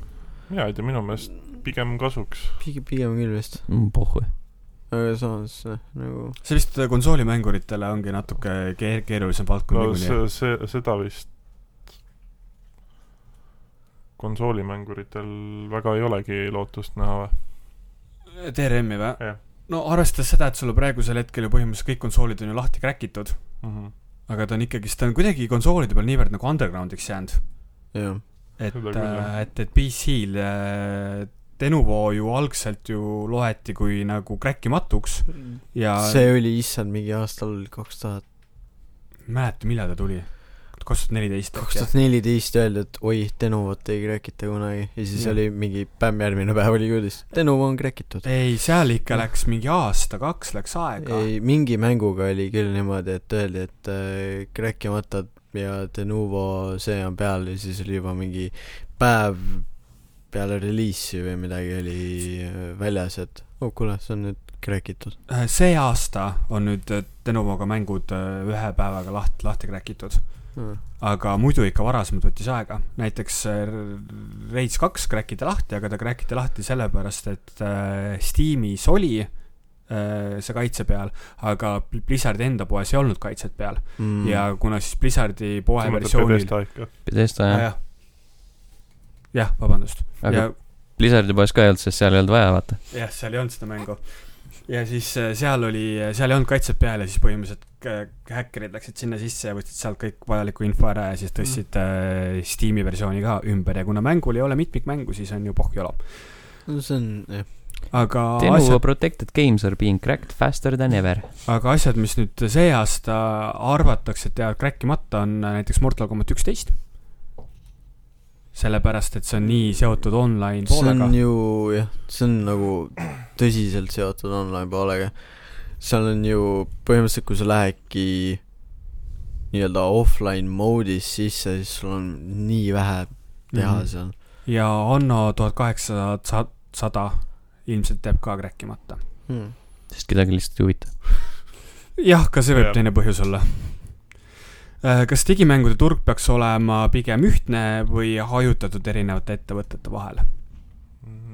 mina ei tea , minu meelest pigem kasuks .
pigem , pigem küll vist .
mm, pohhu .
aga samas jah , nagu
see vist äh, konsoolimänguritele ongi natuke keer- , keerulisem valdkond
no
niikuinii .
see , see , seda vist konsoolimänguritel väga ei olegi lootust näha või ?
DRM-i või
Jah. ?
no arvestades seda , et sul on praegusel hetkel ju põhimõtteliselt kõik konsoolid on ju lahti kräkitud , aga ta on ikkagist , ta on kuidagi konsoolide peal niivõrd nagu undergroundiks jäänud .
jah ,
et ,
Seda küll, jah.
et , et PC-l äh, Denuvo ju algselt ju loeti kui nagu kräkimatuks
Mm.
ja see...
see oli issand mingi aastal kaks tuhat ,
mäleta , millal ta tuli , kaks tuhat neliteist .
kaks tuhat neliteist öeldi , et oi , Denovat ei kräkita kunagi ja siis
Jah.
ja. oli mingi pämm järgmine päev oli uudis , Denova on kräkitud .
ei , seal ikka läks mingi aasta-kaks läks aega .
ei , mingi mänguga oli küll niimoodi , et öeldi , et äh, kräkimata ja Denuvo see on peal ja siis oli juba mingi päev peale reliisi või midagi oli äh, väljas , et oh kuule , see on nüüd kräkitud .
Äh, see aasta on nüüd äh, Denuvoga mängud äh, ühe päevaga laht- , lahti kräkitud , aga muidu ikka varasemalt võttis aega . näiteks äh, Rage kaks kräkiti lahti , aga ta kräkiti lahti sellepärast , et äh, Steamis oli äh, see kaitse peal , aga Bl- Blizzardi enda poes ei olnud kaitset peal mm. ja kuna siis Blizzardi poe versioonil ,
Bethesda jah ,
jah , Ah, jah , vabandust ,
aga
ja
Blizzardi poes ka ei olnud , sest seal ei olnud vaja , vaata .
jah , seal ei olnud seda mängu . ja siis äh, seal oli , seal ei olnud kaitset peal ja siis põhimõtteliselt k- häkkerid läksid sinna sisse ja võtsid sealt kõik vajaliku info ära ja siis
Mhm.
tõstsid äh, Steam'i versiooni ka ümber ja kuna mängul ei ole mitmikmängu , siis on ju pohjola .
no see on jah ,
aga
Tenu asjad...
asjad ,
protected games are being cracked faster than ever .
aga asjad , mis nüüd see aasta arvatakse , et jäävad kräkkimata , on äh, näiteks Mortal Combat üksteist . sellepärast , et see on nii seotud online
see
poolega
on . ju jah , see on nagu tõsiselt seotud online poolega . seal on ju põhimõtteliselt , kui sa lähedki nii-öelda offline mode'is sisse , siis sul on nii vähe teha
Mhm.
seal .
ja Anno tuhat kaheksasada sada ilmselt jääb ka kräkkimata .
sest kedagi lihtsalt ei huvita .
jah , ka see võib
Jah.
teine põhjus olla . kas digimängude turg peaks olema pigem ühtne või hajutatud erinevate ettevõtete vahel ?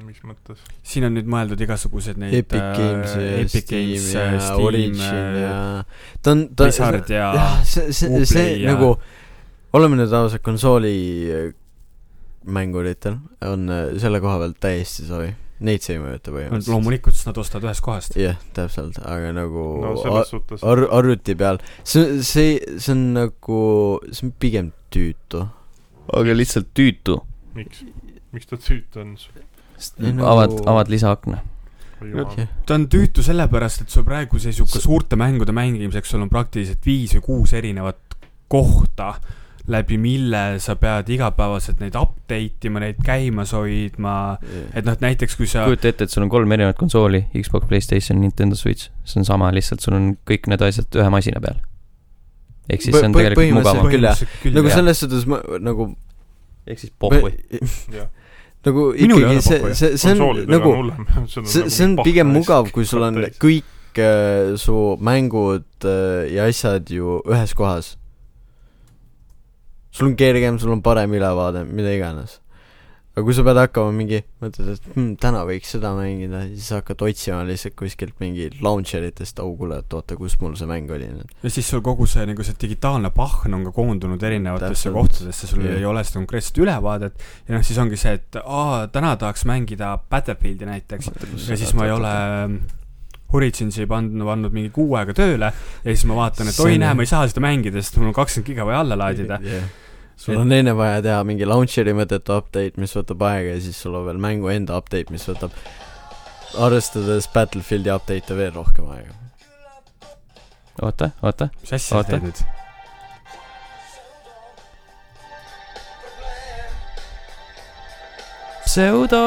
mis mõttes ?
siin on nüüd mõeldud igasugused neid
Epic
äh,
Games ja
Epic
Steam
Games, äh,
ja
Steam,
Origin
äh,
ja ta on , ta
Blizzard ja-
jah , see , see , see
Uplay ja-
nagu , oleme nüüd ausad , konsooli äh, mänguritel on äh, selle koha pealt täiesti sobi , neid see ei mõjuta
no
põhimõtteliselt .
loomulikult , sest nad ostavad ühest kohast .
jah , täpselt , aga nagu
no
ar-
selles suhtes
ar- , arvuti peal , see , see , see on nagu , see on pigem tüütu .
aga lihtsalt tüütu .
miks , miks ta tüütu on ?
Ei, nagu-
avad , avad lisaakna .
jumal ,
ta on tüütu sellepärast , et sul praegu seisuga suurte mängude mängimiseks sul on praktiliselt viis või kuus erinevat kohta , läbi mille sa pead igapäevaselt neid update ima , neid käimas hoidma , et noh , et näiteks kui sa
kujuta ette , et sul on kolm erinevat konsooli , Xbox , Playstation , Nintendo Switch . see on sama , lihtsalt sul on kõik need asjad ühe masina peal . ehk siis see on
Põ- põ-
tegelikult
põhimõtteliselt-
mugavam .
küll jah.
põhimõtteliselt küll
nagu
jah.
selles suhtes ma nagu
ehk siis pohhui .
jah .
nagu
Minul ei ole
ikkagi see
pakkuja. ,
see , see on
konsoolidel
nagu
on hullem . *laughs*
see , see on pigem mugav , kui sul on
updates.
kõik äh, su mängud äh, ja asjad ju ühes kohas . sul on kergem , sul on parem ülevaade , mida iganes . aga kui sa pead hakkama mingi , mõtled , et hm, täna võiks seda mängida , siis hakkad otsima lihtsalt kuskilt mingi launcher itest , oh kuule , et oota , kus mul see mäng oli nüüd .
ja siis sul kogu see nagu see digitaalne pahn on ka koondunud erinevatesse
Täpselt.
kohtadesse , sul
Jah.
ei ole seda konkreetset ülevaadet ja noh , siis ongi see , et aa , täna tahaks mängida Battlefieldi näiteks ja siis ma ei ole Horiginsi pannud , pannud mingi kuu aega tööle ja siis ma vaatan , et
See
oi
on- ,
näe , ma ei saa seda mängida , sest mul on kakskümmend giga vaja alla laadida .
yeah. . sul on enne vaja teha mingi launcher'i mõttetu update , mis võtab aega ja siis sul on veel mängu enda update , mis võtab arvestades Battlefieldi update'e veel rohkem aega .
oota , oota .
mis asja sa
Oota.
teed nüüd ?
pseudo .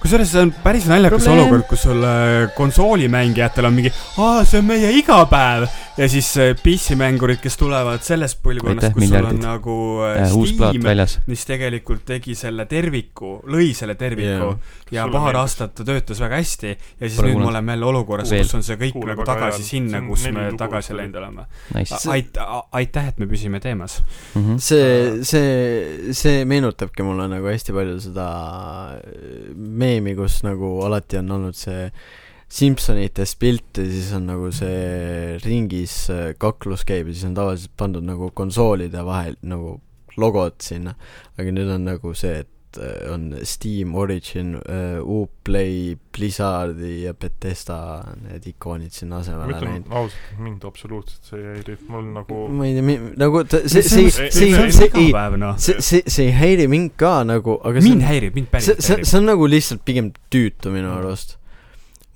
kusjuures see on päris naljakas
Probleem.
olukord , kus sul äh, konsoolimängijatel on mingi , aa , see on meie igapäev ja siis äh, PC-mängurid , kes tulevad sellest põlvkonnast ,
Aitäh,
kus sul on
miljardid.
nagu äh,
Äh, uus plaat
Steam ,
väljas .
mis tegelikult tegi selle terviku , lõi selle terviku yeah. ja paar . aastat ta töötas väga hästi ja siis
Pole
nüüd me
kuulnud.
oleme jälle olukorras ,
Veel.
kus on see kõik
Kuuleb
nagu
väga
tagasi
hea.
sinna
See , on
kus
neli
me
lugu
tagasi
oli.
läinud oleme .
Nice . Mhm,
aitäh , aitäh , et me püsime teemas .
see , see , see meenutabki mulle nagu hästi palju seda meemi , kus nagu alati on olnud see Simpsonitest pilt ja siis on nagu see ringis äh, kaklus käib ja siis on tavaliselt pandud nagu konsoolide vahel nagu logod sinna , aga nüüd on nagu see , et äh, on Steam , Origin , Uplay , Blizzardi ja Betesta need ikoonid sinna
ma
asemele
ütlen
läinud .
ausalt , mind absoluutselt see ei häiri , mul nagu
ma ei tea , nagu ta , see , see , see ,
see
see ,
on
see ei ,
igapäev noh .
see , see , see ei häiri mind ka nagu , aga see
mind
on ,
häirib , mind
see ,
päriselt
see ,
häirib .
see on nagu lihtsalt pigem tüütu minu arust .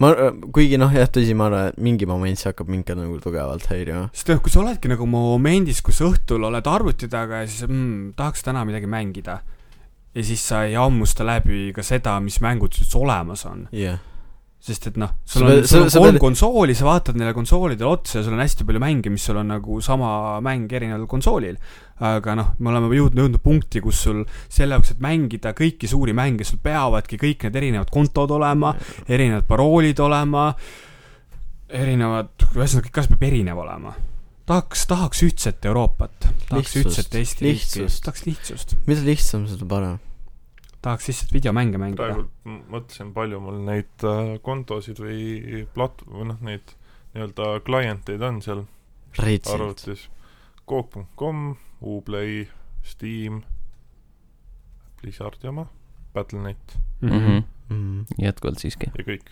ma , kuigi noh , jah , tõsi , ma arvan , et mingi moment see hakkab mind ka nagu tugevalt häirima .
sest noh , kui sa oledki nagu momendis , kus õhtul oled arvuti taga ja siis mm, tahaks täna midagi mängida ja siis sa ei hammusta läbi ka seda , mis mängud üldse olemas on .
jah ,
sest et noh , sul
Sa
on
pead- ,
sul on
sa- sa
kolm
pead-
konsooli , sa vaatad neile konsoolidele otsa ja sul on hästi palju mänge , mis sul on nagu sama mäng erineval konsoolil . aga noh , me oleme jõudnud , jõudnud punkti , kus sul selle jaoks , et mängida kõiki suuri mänge , sul peavadki kõik need erinevad kontod olema , erinevad paroolid olema , erinevad , ühesõnaga kõik asjad peab erinev olema . tahaks , tahaks ühtset Euroopat , tahaks
Lihtsust,
ühtset Eesti riiki ,
lihtsust.
tahaks lihtsust .
mida lihtsam , seda parem .
tahaks lihtsalt videomänge mängida
praegu . m- mõtlesin , palju mul neid äh, kontosid või plat- , või noh , neid nii-öelda klienteid on seal
retsilt .
arvutis . Coop.com , Uplay , Steam , Blizzardi oma , Battlenet
Mhm.
mhmh ,
Mm.
jätkuvalt siiski .
ja kõik .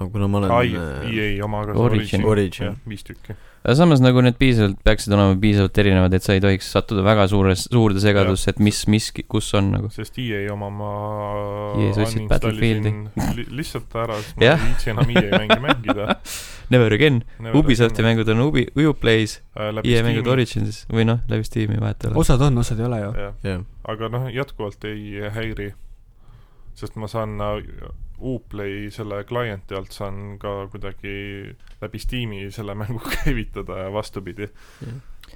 no kuna ma olen
ai ,
äh,
EA oma ka .
Origin.
Origin ,
jah , viis tükki .
aga samas nagu need piisavalt , peaksid olema piisavalt erinevad , et sa ei tohiks sattuda väga suures , suurde segadusse , et mis , mis , kus on nagu .
sest EA oma ma
EA sa E ostsid
uninstallisin li lihtsalt ära , sest ma
Jah.
ei viitsi enam EA mänge
*laughs*
mängida .
Never again , Ubisofti . mängud on Ubi , Uplays ,
äh,
EA mängud . Originsis või noh , läbi Steam'i vahet ei ole .
osad on , osad ei ole ju .
jah .
aga noh , jätkuvalt ei häiri , sest ma saan äh, Uplay selle klienti alt saan ka kuidagi läbi Steam'i selle mängu *laughs* käivitada ja vastupidi .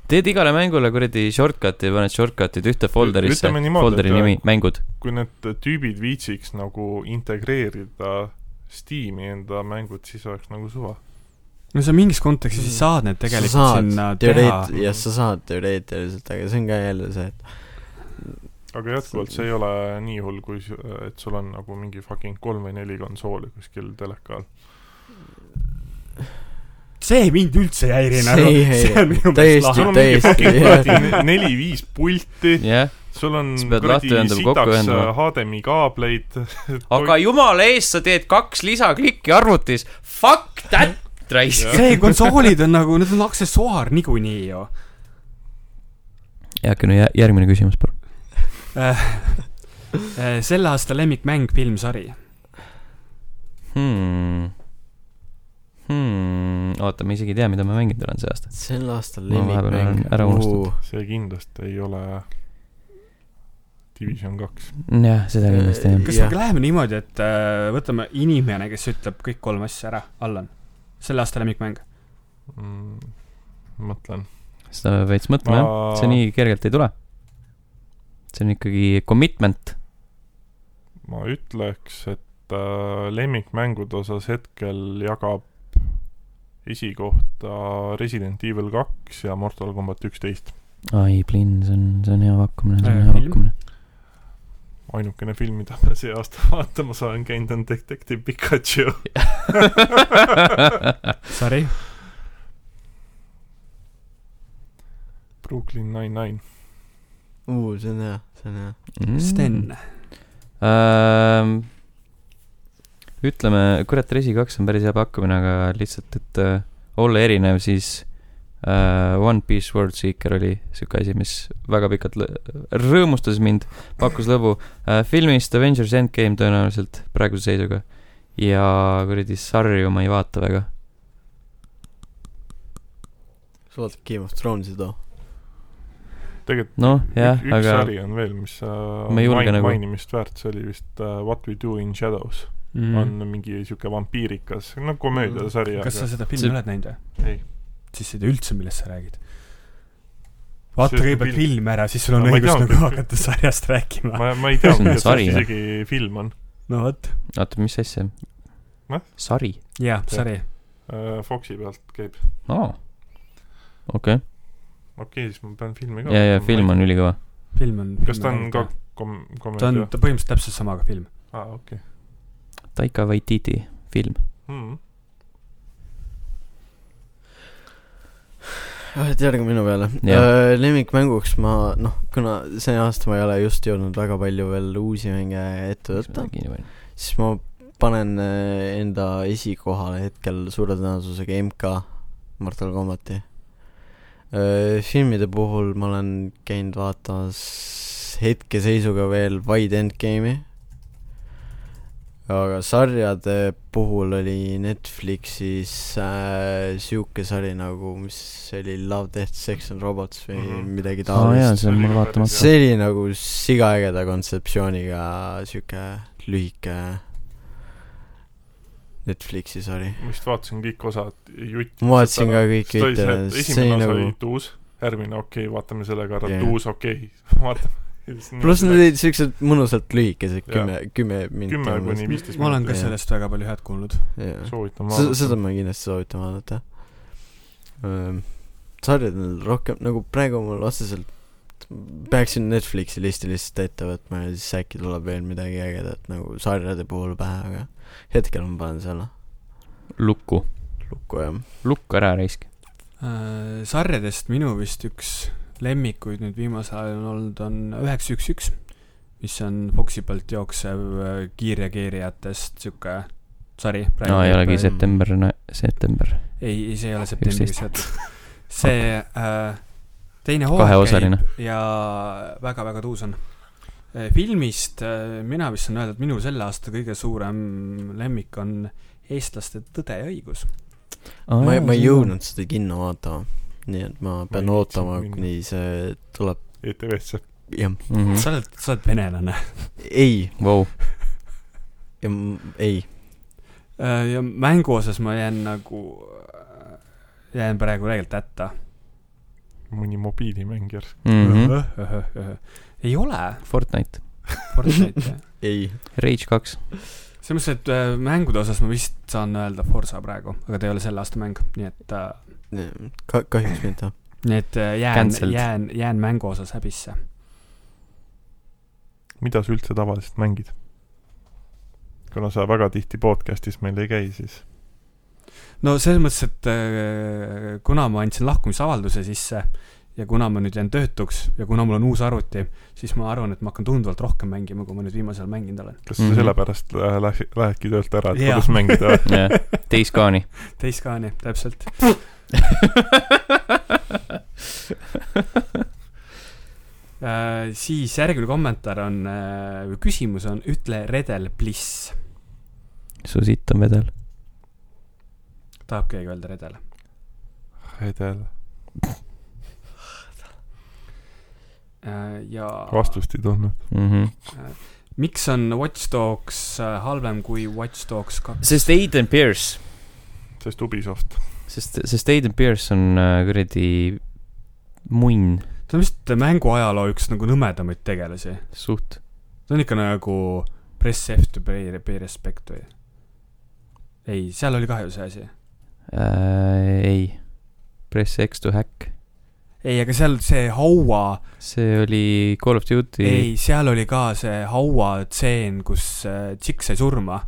teed igale mängule kuradi shortcut'i , paned shortcut'id ühte folderisse ,
ütleme niimoodi,
folderi
et-
nimi , *laughs* mängud .
kui need tüübid viitsiks nagu integreerida Steam'i enda mängud , siis oleks nagu suva .
no sa mingis kontekstis mm. saad need tegelikult
sa saad
sinna teha
teoreet- , jah , sa saad teoreetiliselt , aga see on ka jälle see , et
aga jätkuvalt see ei ole nii hull , kui , et sul on nagu mingi fucking kolm või neli konsooli kuskil teleka all .
see mind üldse ei häiri
See
nagu ,
ei
see
häiri.
on minu meelest
Täiesti-
sul
lahe .
on mingi
täiesti,
fucking
jah.
kuradi neli-viis pulti ,
jah ,
sul on
Siis pead
kuradi
lahti ühendama, kokku
sitaks
ühendama.
äh, HDMI kaableid ,
aga jumala eest , sa teed kaks lisaklikki arvutis , fuck *laughs* that , raisk .
see konsoolid on nagu , need on aksessuaar niikuinii ju .
heakene , järgmine küsimus , palun .
Eh, selle aasta lemmikmäng , filmsari .
hmm. . Hmm. oota , ma isegi ei tea , mida ma mänginud olen see aasta .
sel aastal
Ma vahepeal
lemmikmäng
olen ära unustanud. .
see kindlasti ei ole Division kaks .
jah , seda
Äh,
kindlasti jah .
kas
Jah.
me ka läheme niimoodi , et äh, võtame inimene , kes ütleb kõik kolm asja ära , Allan . selle aasta lemmikmäng .
Mm, mõtlen .
seda peab veits mõtlema jah , see nii kergelt ei tule . see on ikkagi commitment .
ma ütleks , et äh, lemmikmängude osas hetkel jagab esikohta Resident Evil kaks ja Mortal Combat üksteist .
ai , Blinn , see on , see on hea pakkumine , see on
Äh,
hea
film?
pakkumine .
ainukene film , mida ma see aasta *laughs* vaatama saan käinud , on Detective Pikachu .
Sorry .
Brooklyn Nine-Nine .
uu , see on hea , see on hea . Mm.
Sten .
ähm, . ütleme , kurat , Resi kaks on päris hea pakkumine , aga lihtsalt , et äh, olla erinev , siis äh, One Piece World Seeker oli siuke asi , mis väga pikalt lõ- rõõmustas mind , pakkus lõbu äh, . filmist Avengers Endgame tõenäoliselt praeguse seisuga ja kuradi sarju ma ei vaata väga .
sa vaatad Game of Thronesi too ?
tegelikult
noh , jah ,
ük- üks
aga
sari on veel , mis äh,
Ma ei julge
main-
nagu-
mainimist väärt , see oli vist äh, What We Do in Shadows
Mhm.
mm. . on mingi siuke vampiirikas , no komöödiasari mm. ,
kas sa
aga
seda
See-
filmi oled näinud või ?
ei .
siis sa ei tea üldse , millest sa räägid . vaata
See on
kõigepealt
film.
film ära , siis sul on
No ma ei
õigus
teadnud,
nagu
et-
hakata sarjast rääkima .
ma , ma
*laughs*
ei tea ,
See on
kuidas
sari,
sari, isegi film on .
no vot ,
oota , mis asja
Noh. ?
sari
jaa , sari .
Äh, Foxi pealt käib .
oh. . okei okay. ,
okei okay, , siis ma pean filmi ka
ja , ja film on ülikõva .
film on .
kas ta on ka ? kom- ,
ta on
komöödia ?
ta põhimõtteliselt täpselt sama kui film .
aa , okei . Hmm.
Taika Waititi film .
et järgi Ah, minu peale Äh,
Jah. .
lemmikmänguks ma , noh , kuna see aasta ma ei ole just jõudnud väga palju veel uusi mänge ette võtta , siis ma panen äh, enda esikohale hetkel suure tõenäosusega MK , Mortal Combati . filmide puhul ma olen käinud vaatamas hetkeseisuga veel Wide Endgame'i . aga sarjade puhul oli Netflixis äh, sihuke sari nagu , mis oli Love , Death , Sex and Robots või mm
Mhm.
-hmm. midagi
aa jaa ,
taolist
see on mul vaatamata .
see oli nagu sigaägeda kontseptsiooniga sihuke lühike Netflixi sari .
ma vist vaatasin kõik osad jutti .
ma vaatasin ka kõik
ühte .
videod , see
esimene
oli
osa
nagu
oli , tuus , järgmine okei okay, , vaatame sellega ära yeah. ,
Jah.
tuus okei *laughs* okay. , vaatame .
pluss nad olid siuksed mõnusalt lühikesed ,
Jah.
kümme , kümme minti .
kümme kuni viisteist
ma olen ka
Jaa.
sellest väga palju head kuulnud .
viis .
soovitan vaadata .
seda ma kindlasti soovitan Ehm, vaadata . sarjadel rohkem , nagu praegu mul otseselt peaksin Netflixi listi lihtsalt ette võtma ja siis äkki tuleb veel midagi ägedat nagu sarjade puhul pähe , aga hetkel ma panen selle
lukku ,
lukku jah .
lukku ära raisk .
Äh, sarjadest minu vist üks lemmikuid nüüd viimasel ajal on olnud , on üheksa üks üks , mis on Foxi poolt jooksev äh, kiirreageerijatest sihuke sari .
no ei olegi
praegu-
september , september ,
ei , ei , see ei ole septembris
11.
jätnud . see äh, teine hooaeg
kaheosaline .
ja väga-väga tuus on . filmist äh, mina vist saan öelda , et minu selle aasta kõige suurem lemmik on eestlaste Tõde ja õigus .
ma ei , ma ei . jõudnud seda kinno vaatama , nii et ma pean
Ma ei
ootama ,
viitsinud minna.
kuni see tuleb ,
E ETV-sse .
jah ,
Mhm. Hmm?
sa oled , sa oled venelane .
ei ,
Vau ,
ei ,
Äh, ja mängu osas ma jään nagu , jään praegu tegelikult hätta .
mõni mobiilimängija .
ei ole
Mhm. Fortnite ,
Fortnite'i jah .
*laughs* ei ,
Rage kaks ,
selles mõttes , et äh, mängude osas ma vist saan öelda Forsa praegu , aga ta ei ole selle aasta mäng , nii et äh,
ka- , kahjuks mitte .
nii et äh, jään
Cancelled. ,
jään , jään mängu osas häbisse .
mida sa üldse tavaliselt mängid ? kuna sa väga tihti podcast'is meil ei käi , siis
no selles mõttes , et äh, kuna ma andsin lahkumisavalduse sisse ja kuna ma nüüd jään töötuks ja kuna mul on uus arvuti , siis ma arvan , et ma hakkan tunduvalt rohkem mängima , kui ma nüüd viimasel ajal mänginud olen .
kas sa
Mhm.
sellepärast lä- lä- lähedki töölt ära , et
Jaa.
kodus mängida ?
*laughs*
jah , teist
*laughs*
kaani .
teist ka , nii , täpselt . Äh, siis järgmine kommentaar on , või küsimus on , ütle redel bliss .
su sitt on vedel .
tahab keegi öelda redel ?
redel .
Äh, ja
vastust ei tulnud .
Mhm.
miks on Watch Dogs äh, halvem kui Watch Dogs kaks ?
sest Aiden Pierce ,
sest Ubisoft .
sest , sest Aiden Pierce on äh, kuradi munn
ta on vist mänguajaloo üks nagu nõmedamaid tegelasi .
suht .
ta on ikka nagu press F to pay , pay respect või ? ei , seal oli ka ju see asi .
Äh, ei , press X to hack ,
ei , aga seal see haua
see oli Call of Duty .
ei , seal oli ka see hauatseen , kus äh, tšikk sai surma .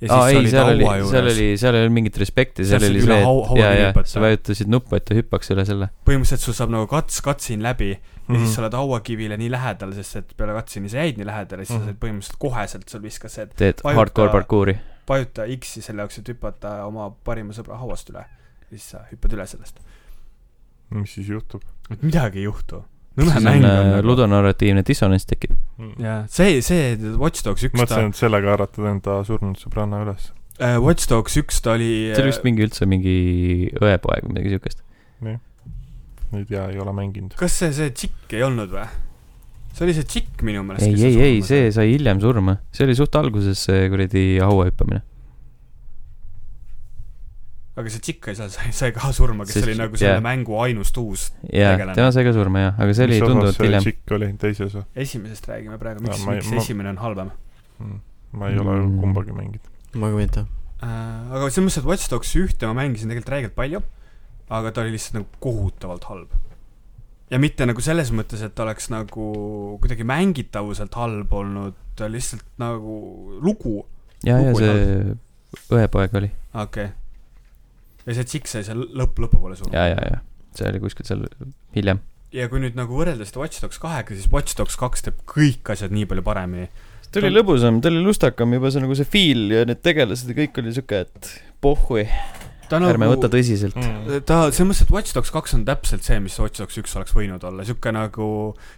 ja siis
aa
ah,
ei ,
olid
seal oli
haua ,
seal
juures .
oli , seal ei olnud mingit respekti , seal
Seal
oli
said üle
see ,
hau-
et
haua
jaa , jaa ,
hüpata.
sa vajutasid nuppu , et ta hüppaks üle selle .
põhimõtteliselt sul saab nagu kats , katsin läbi ja mm.
Mhm.
siis sa oled hauakivile nii lähedal , sest et peale katsini sa jäid nii lähedale , siis mm.
Mhm.
sa said põhimõtteliselt koheselt , sul viskas see , et
teed
vajuta-
hardcore parkuuri .
vajuta X-i selle jaoks , et hüpata oma parima sõbra hauast üle . ja siis sa hüppad üle sellest .
Mhm. mis siis juhtub ?
et midagi ei juhtu .
siis
nõme
on
mäng on
äh,
nagu .
ludonarratiivne dissonants tekib .
jaa , see , see Watch Dogs üks ta ,
mõtlesin , et sellega haarata enda surnud sõbranna üles .
äh, Watch Dogs üks ta oli äh,
see oli vist mingi üldse mingi õepoeg või midagi siukest .
ei tea , ei ole mänginud .
kas see , see tšikk ei olnud või ? see oli see tšikk minu meelest .
ei , ei , ei , see . sai hiljem surma , see oli suht alguses see kuradi haua hüppamine .
aga see tšikk ei saa , sai , sai ka surma , kes
See-
see, oli nagu selle
jah.
yeah. mängu ainus tuus .
jaa ,
Tegelane.
tema sai ka surma jah , aga see oli tunduvalt hiljem .
tšikk oli teises või ?
esimesest räägime praegu , miks
Jaa, , ma ei-
miks
ma-
ma... esimene on halvem
ma ei ole
Mm.
kumbagi mänginud .
ma ka mitte .
äh, . aga selles mõttes , et Watch Dogs ühte ma mängisin tegelikult räigelt palju , aga ta oli lihtsalt nagu kohutavalt halb . ja mitte nagu selles mõttes , et ta oleks nagu kuidagi mängitavuselt halb olnud , ta lihtsalt nagu lugu ,
jaa , jaa ,
Lugu ei
see õepoeg oli .
okei okay. . ja see tšikk sai seal lõpp , lõpupoole surma .
jaa , jaa , jaa , see oli kuskil seal hiljem .
ja kui nüüd nagu võrrelda seda Watch Dogs kahega , siis Watch Dogs kaks teeb kõik asjad nii palju paremini .
ta oli lõbusam , ta oli lustakam juba see nagu see feel ja need tegelased ja kõik oli siuke , et pohhui ,
ta nagu
ärme võta tõsiselt .
Mm.
Mm.
ta , selles mõttes , et Watch Dogs kaks on täpselt see , mis Watch Dogs üks oleks võinud olla , sihuke nagu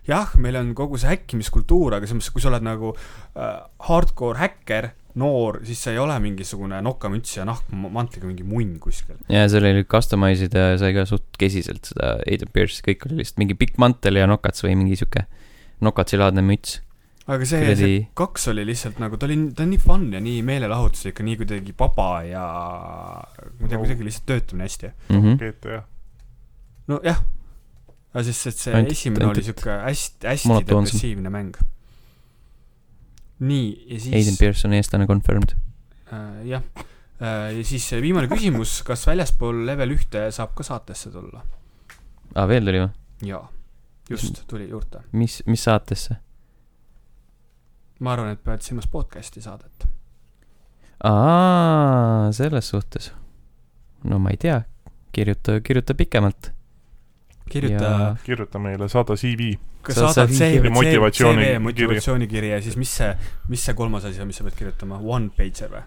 jah , meil on kogu see häkkimiskultuur , aga selles mõttes , kui sa oled nagu äh, hardcore häkker , noor , siis sa ei ole mingisugune nokamüts ja nahkmantliga mingi munn kuskil .
ja seal oli customise ida ja sai ka suht kesiselt seda Aiden Pierce , kõik oli lihtsalt mingi pikk mantel ja nokats või mingi siuke nokatsilaadne müts .
aga see , see
kuradi ,
kaks oli lihtsalt nagu , ta oli , ta on nii fun ja nii meelelahutuslik ja nii kuidagi vaba ja ma ei tea ,
No.
kuidagi lihtsalt töötamine hästi .
Mhm.
GTA .
nojah , aga siis , et see
Ainult-
ainult, esimene
ainult-
oli sihuke hästi , hästi
monotoonsem.
depressiivne mäng . nii , ja
Aiden
siis ,
Pierce on eestlane confirmed .
äh, jah , ja siis see viimane küsimus , kas väljaspool level ühte saab ka saatesse tulla ?
aa , veel Ah, tuli või ?
jaa ,
Mhm.
just , tuli juurde .
mis , mis saatesse ?
ma arvan , et pead silmas podcast'i saadet .
aa , selles suhtes . no ma ei tea , kirjuta , kirjuta pikemalt .
kirjuta ,
kirjuta meile , saada CV .
kas
Sa-
saadad
sa-
CV ,
motivatsiooni-
CV motivatsioonikirja ja siis mis see , mis see kolmas asi on , mis sa pead kirjutama , one pager või ?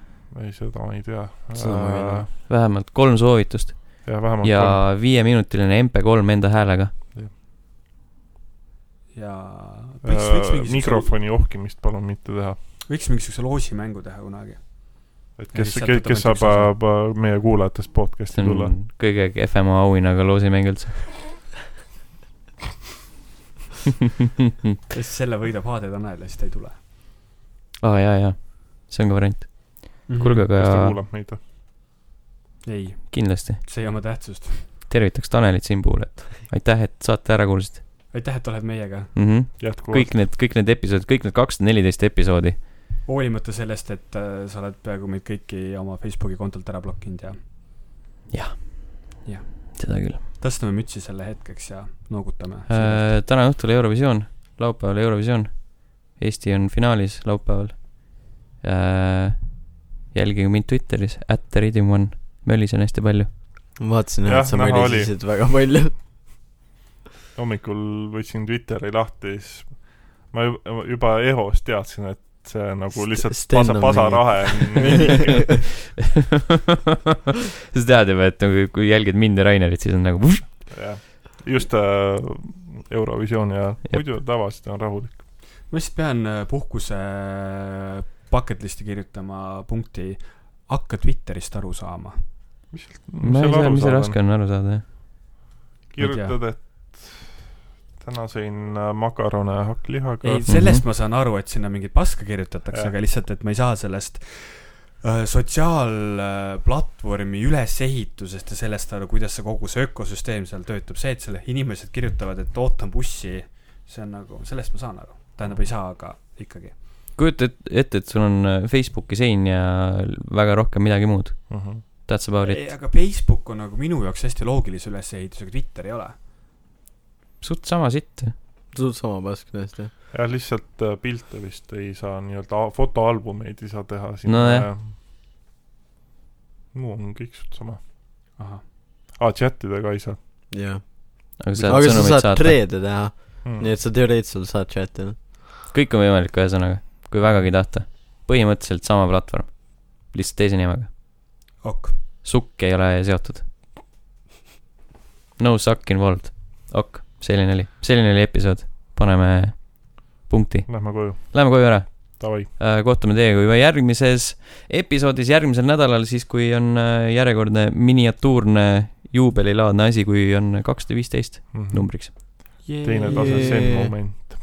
ei , seda ma ei tea .
Seda ma ei tea.
vähemalt kolm soovitust
ja vähemalt
ja
kolm.
viieminutiline MP3 enda häälega .
ja võiks , võiks
Äh,
mingisuguse ,
mikrofoni ohkimist palun mitte teha .
võiks mingisuguse loosimängu teha kunagi .
et
Ja
kes kes,
siis , sealt
kes saab
võtame üks
äh, pa- meie kuulajatest podcast'i
see
tulla .
on kõige kehvema auhinnaga loosimäng üldse .
ja siis selle võidab HD Tanel ja siis ta ei tule .
aa , jaa , jaa . see on ka variant . Mhm. kuulge ,
kes ta
aga
kuulab meid ?
ei ,
kindlasti
see ei oma tähtsust .
tervitaks Tanelit siin puhul , et aitäh , et saate ära kuulasite
aitäh , et oled meiega .
mm . -hmm.
jätkuvalt .
kõik need , kõik need episoodid , kõik need kakssada neliteist episoodi .
hoolimata sellest , et äh, sa oled peaaegu meid kõiki oma Facebooki kontolt ära blokinud ja
seda küll .
tõstame mütsi selle hetkeks ja noogutame .
äh, . täna õhtul Eurovisioon , laupäeval Eurovisioon . Eesti on finaalis laupäeval äh, . jälgige mind Twitteris , at the rhythm one , mölisen hästi *laughs* palju .
ma vaatasin ,
Jah,
et sa
näha oli.
mölisesid väga palju .
hommikul võtsin Twitteri lahti , siis ma ju- juba eos teadsin , et see nagu
St-
lihtsalt
Sten
pasa
on ,
pasarahe on nii liige .
sa tead juba , et nagu kui jälgid mind ja Rainerit , siis on nagu vuh,
jah , just äh, Eurovisioon ja muidu tavaliselt on rahulik .
ma lihtsalt pean äh, puhkuse äh, bucket list'i kirjutama punkti , hakka Twitterist aru saama .
ma ei tea , mis see raske on aru saada , jah .
kirjutad , et täna sõin äh, makarone hakklihaga
ei ,. sellest
Mhm.
ma saan aru , et sinna mingit paska kirjutatakse ,
Jah.
aga lihtsalt , et ma ei saa sellest äh, sotsiaalplatvormi ülesehitusest ja sellest aru , kuidas see kogu see ökosüsteem seal töötab , see , et selle inimesed kirjutavad , et ootan bussi , see on nagu , sellest ma saan aru , tähendab ei saa , aga ikkagi .
kujuta et- ette , et sul on äh, Facebooki sein ja väga rohkem midagi muud .
Mhm.
That's about it .
ei , aga Facebook on nagu minu jaoks hästi loogilise ülesehitusega , Twitter ei ole .
suht sama sitt .
suht sama pask tõesti .
jah , lihtsalt äh, pilte vist ei saa nii-öelda , fotoalbumeid ei saa teha
Nojah.
sinna . muu on kõik suht sama .
ahah ,
aa , chatidega ei saa
jah .
aga sa saad
aga sa
sõnumeid
saad
saata .
treede teha ,
mm.
nii . et sa teoreetiliselt saad chat'i .
kõik on võimalik , ühesõnaga , kui vägagi tahta . põhimõtteliselt sama platvorm , lihtsalt teise nimega .
ok ,
sukk ei ole seotud . No suck involved . ok , selline oli , selline oli episood , paneme punkti ,
Lähme koju ,
lähme koju ära .
davai .
Äh, kohtume teiega juba järgmises episoodis järgmisel nädalal , siis kui on äh, järjekordne miniatuurne juubelilaadne asi , kui on kakssada viisteist numbriks .
Mhm. teine tase , see on moment .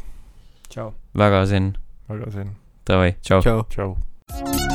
tšau .
väga sen ,
väga sen ,
davai , tšau .
tšau .
tšau .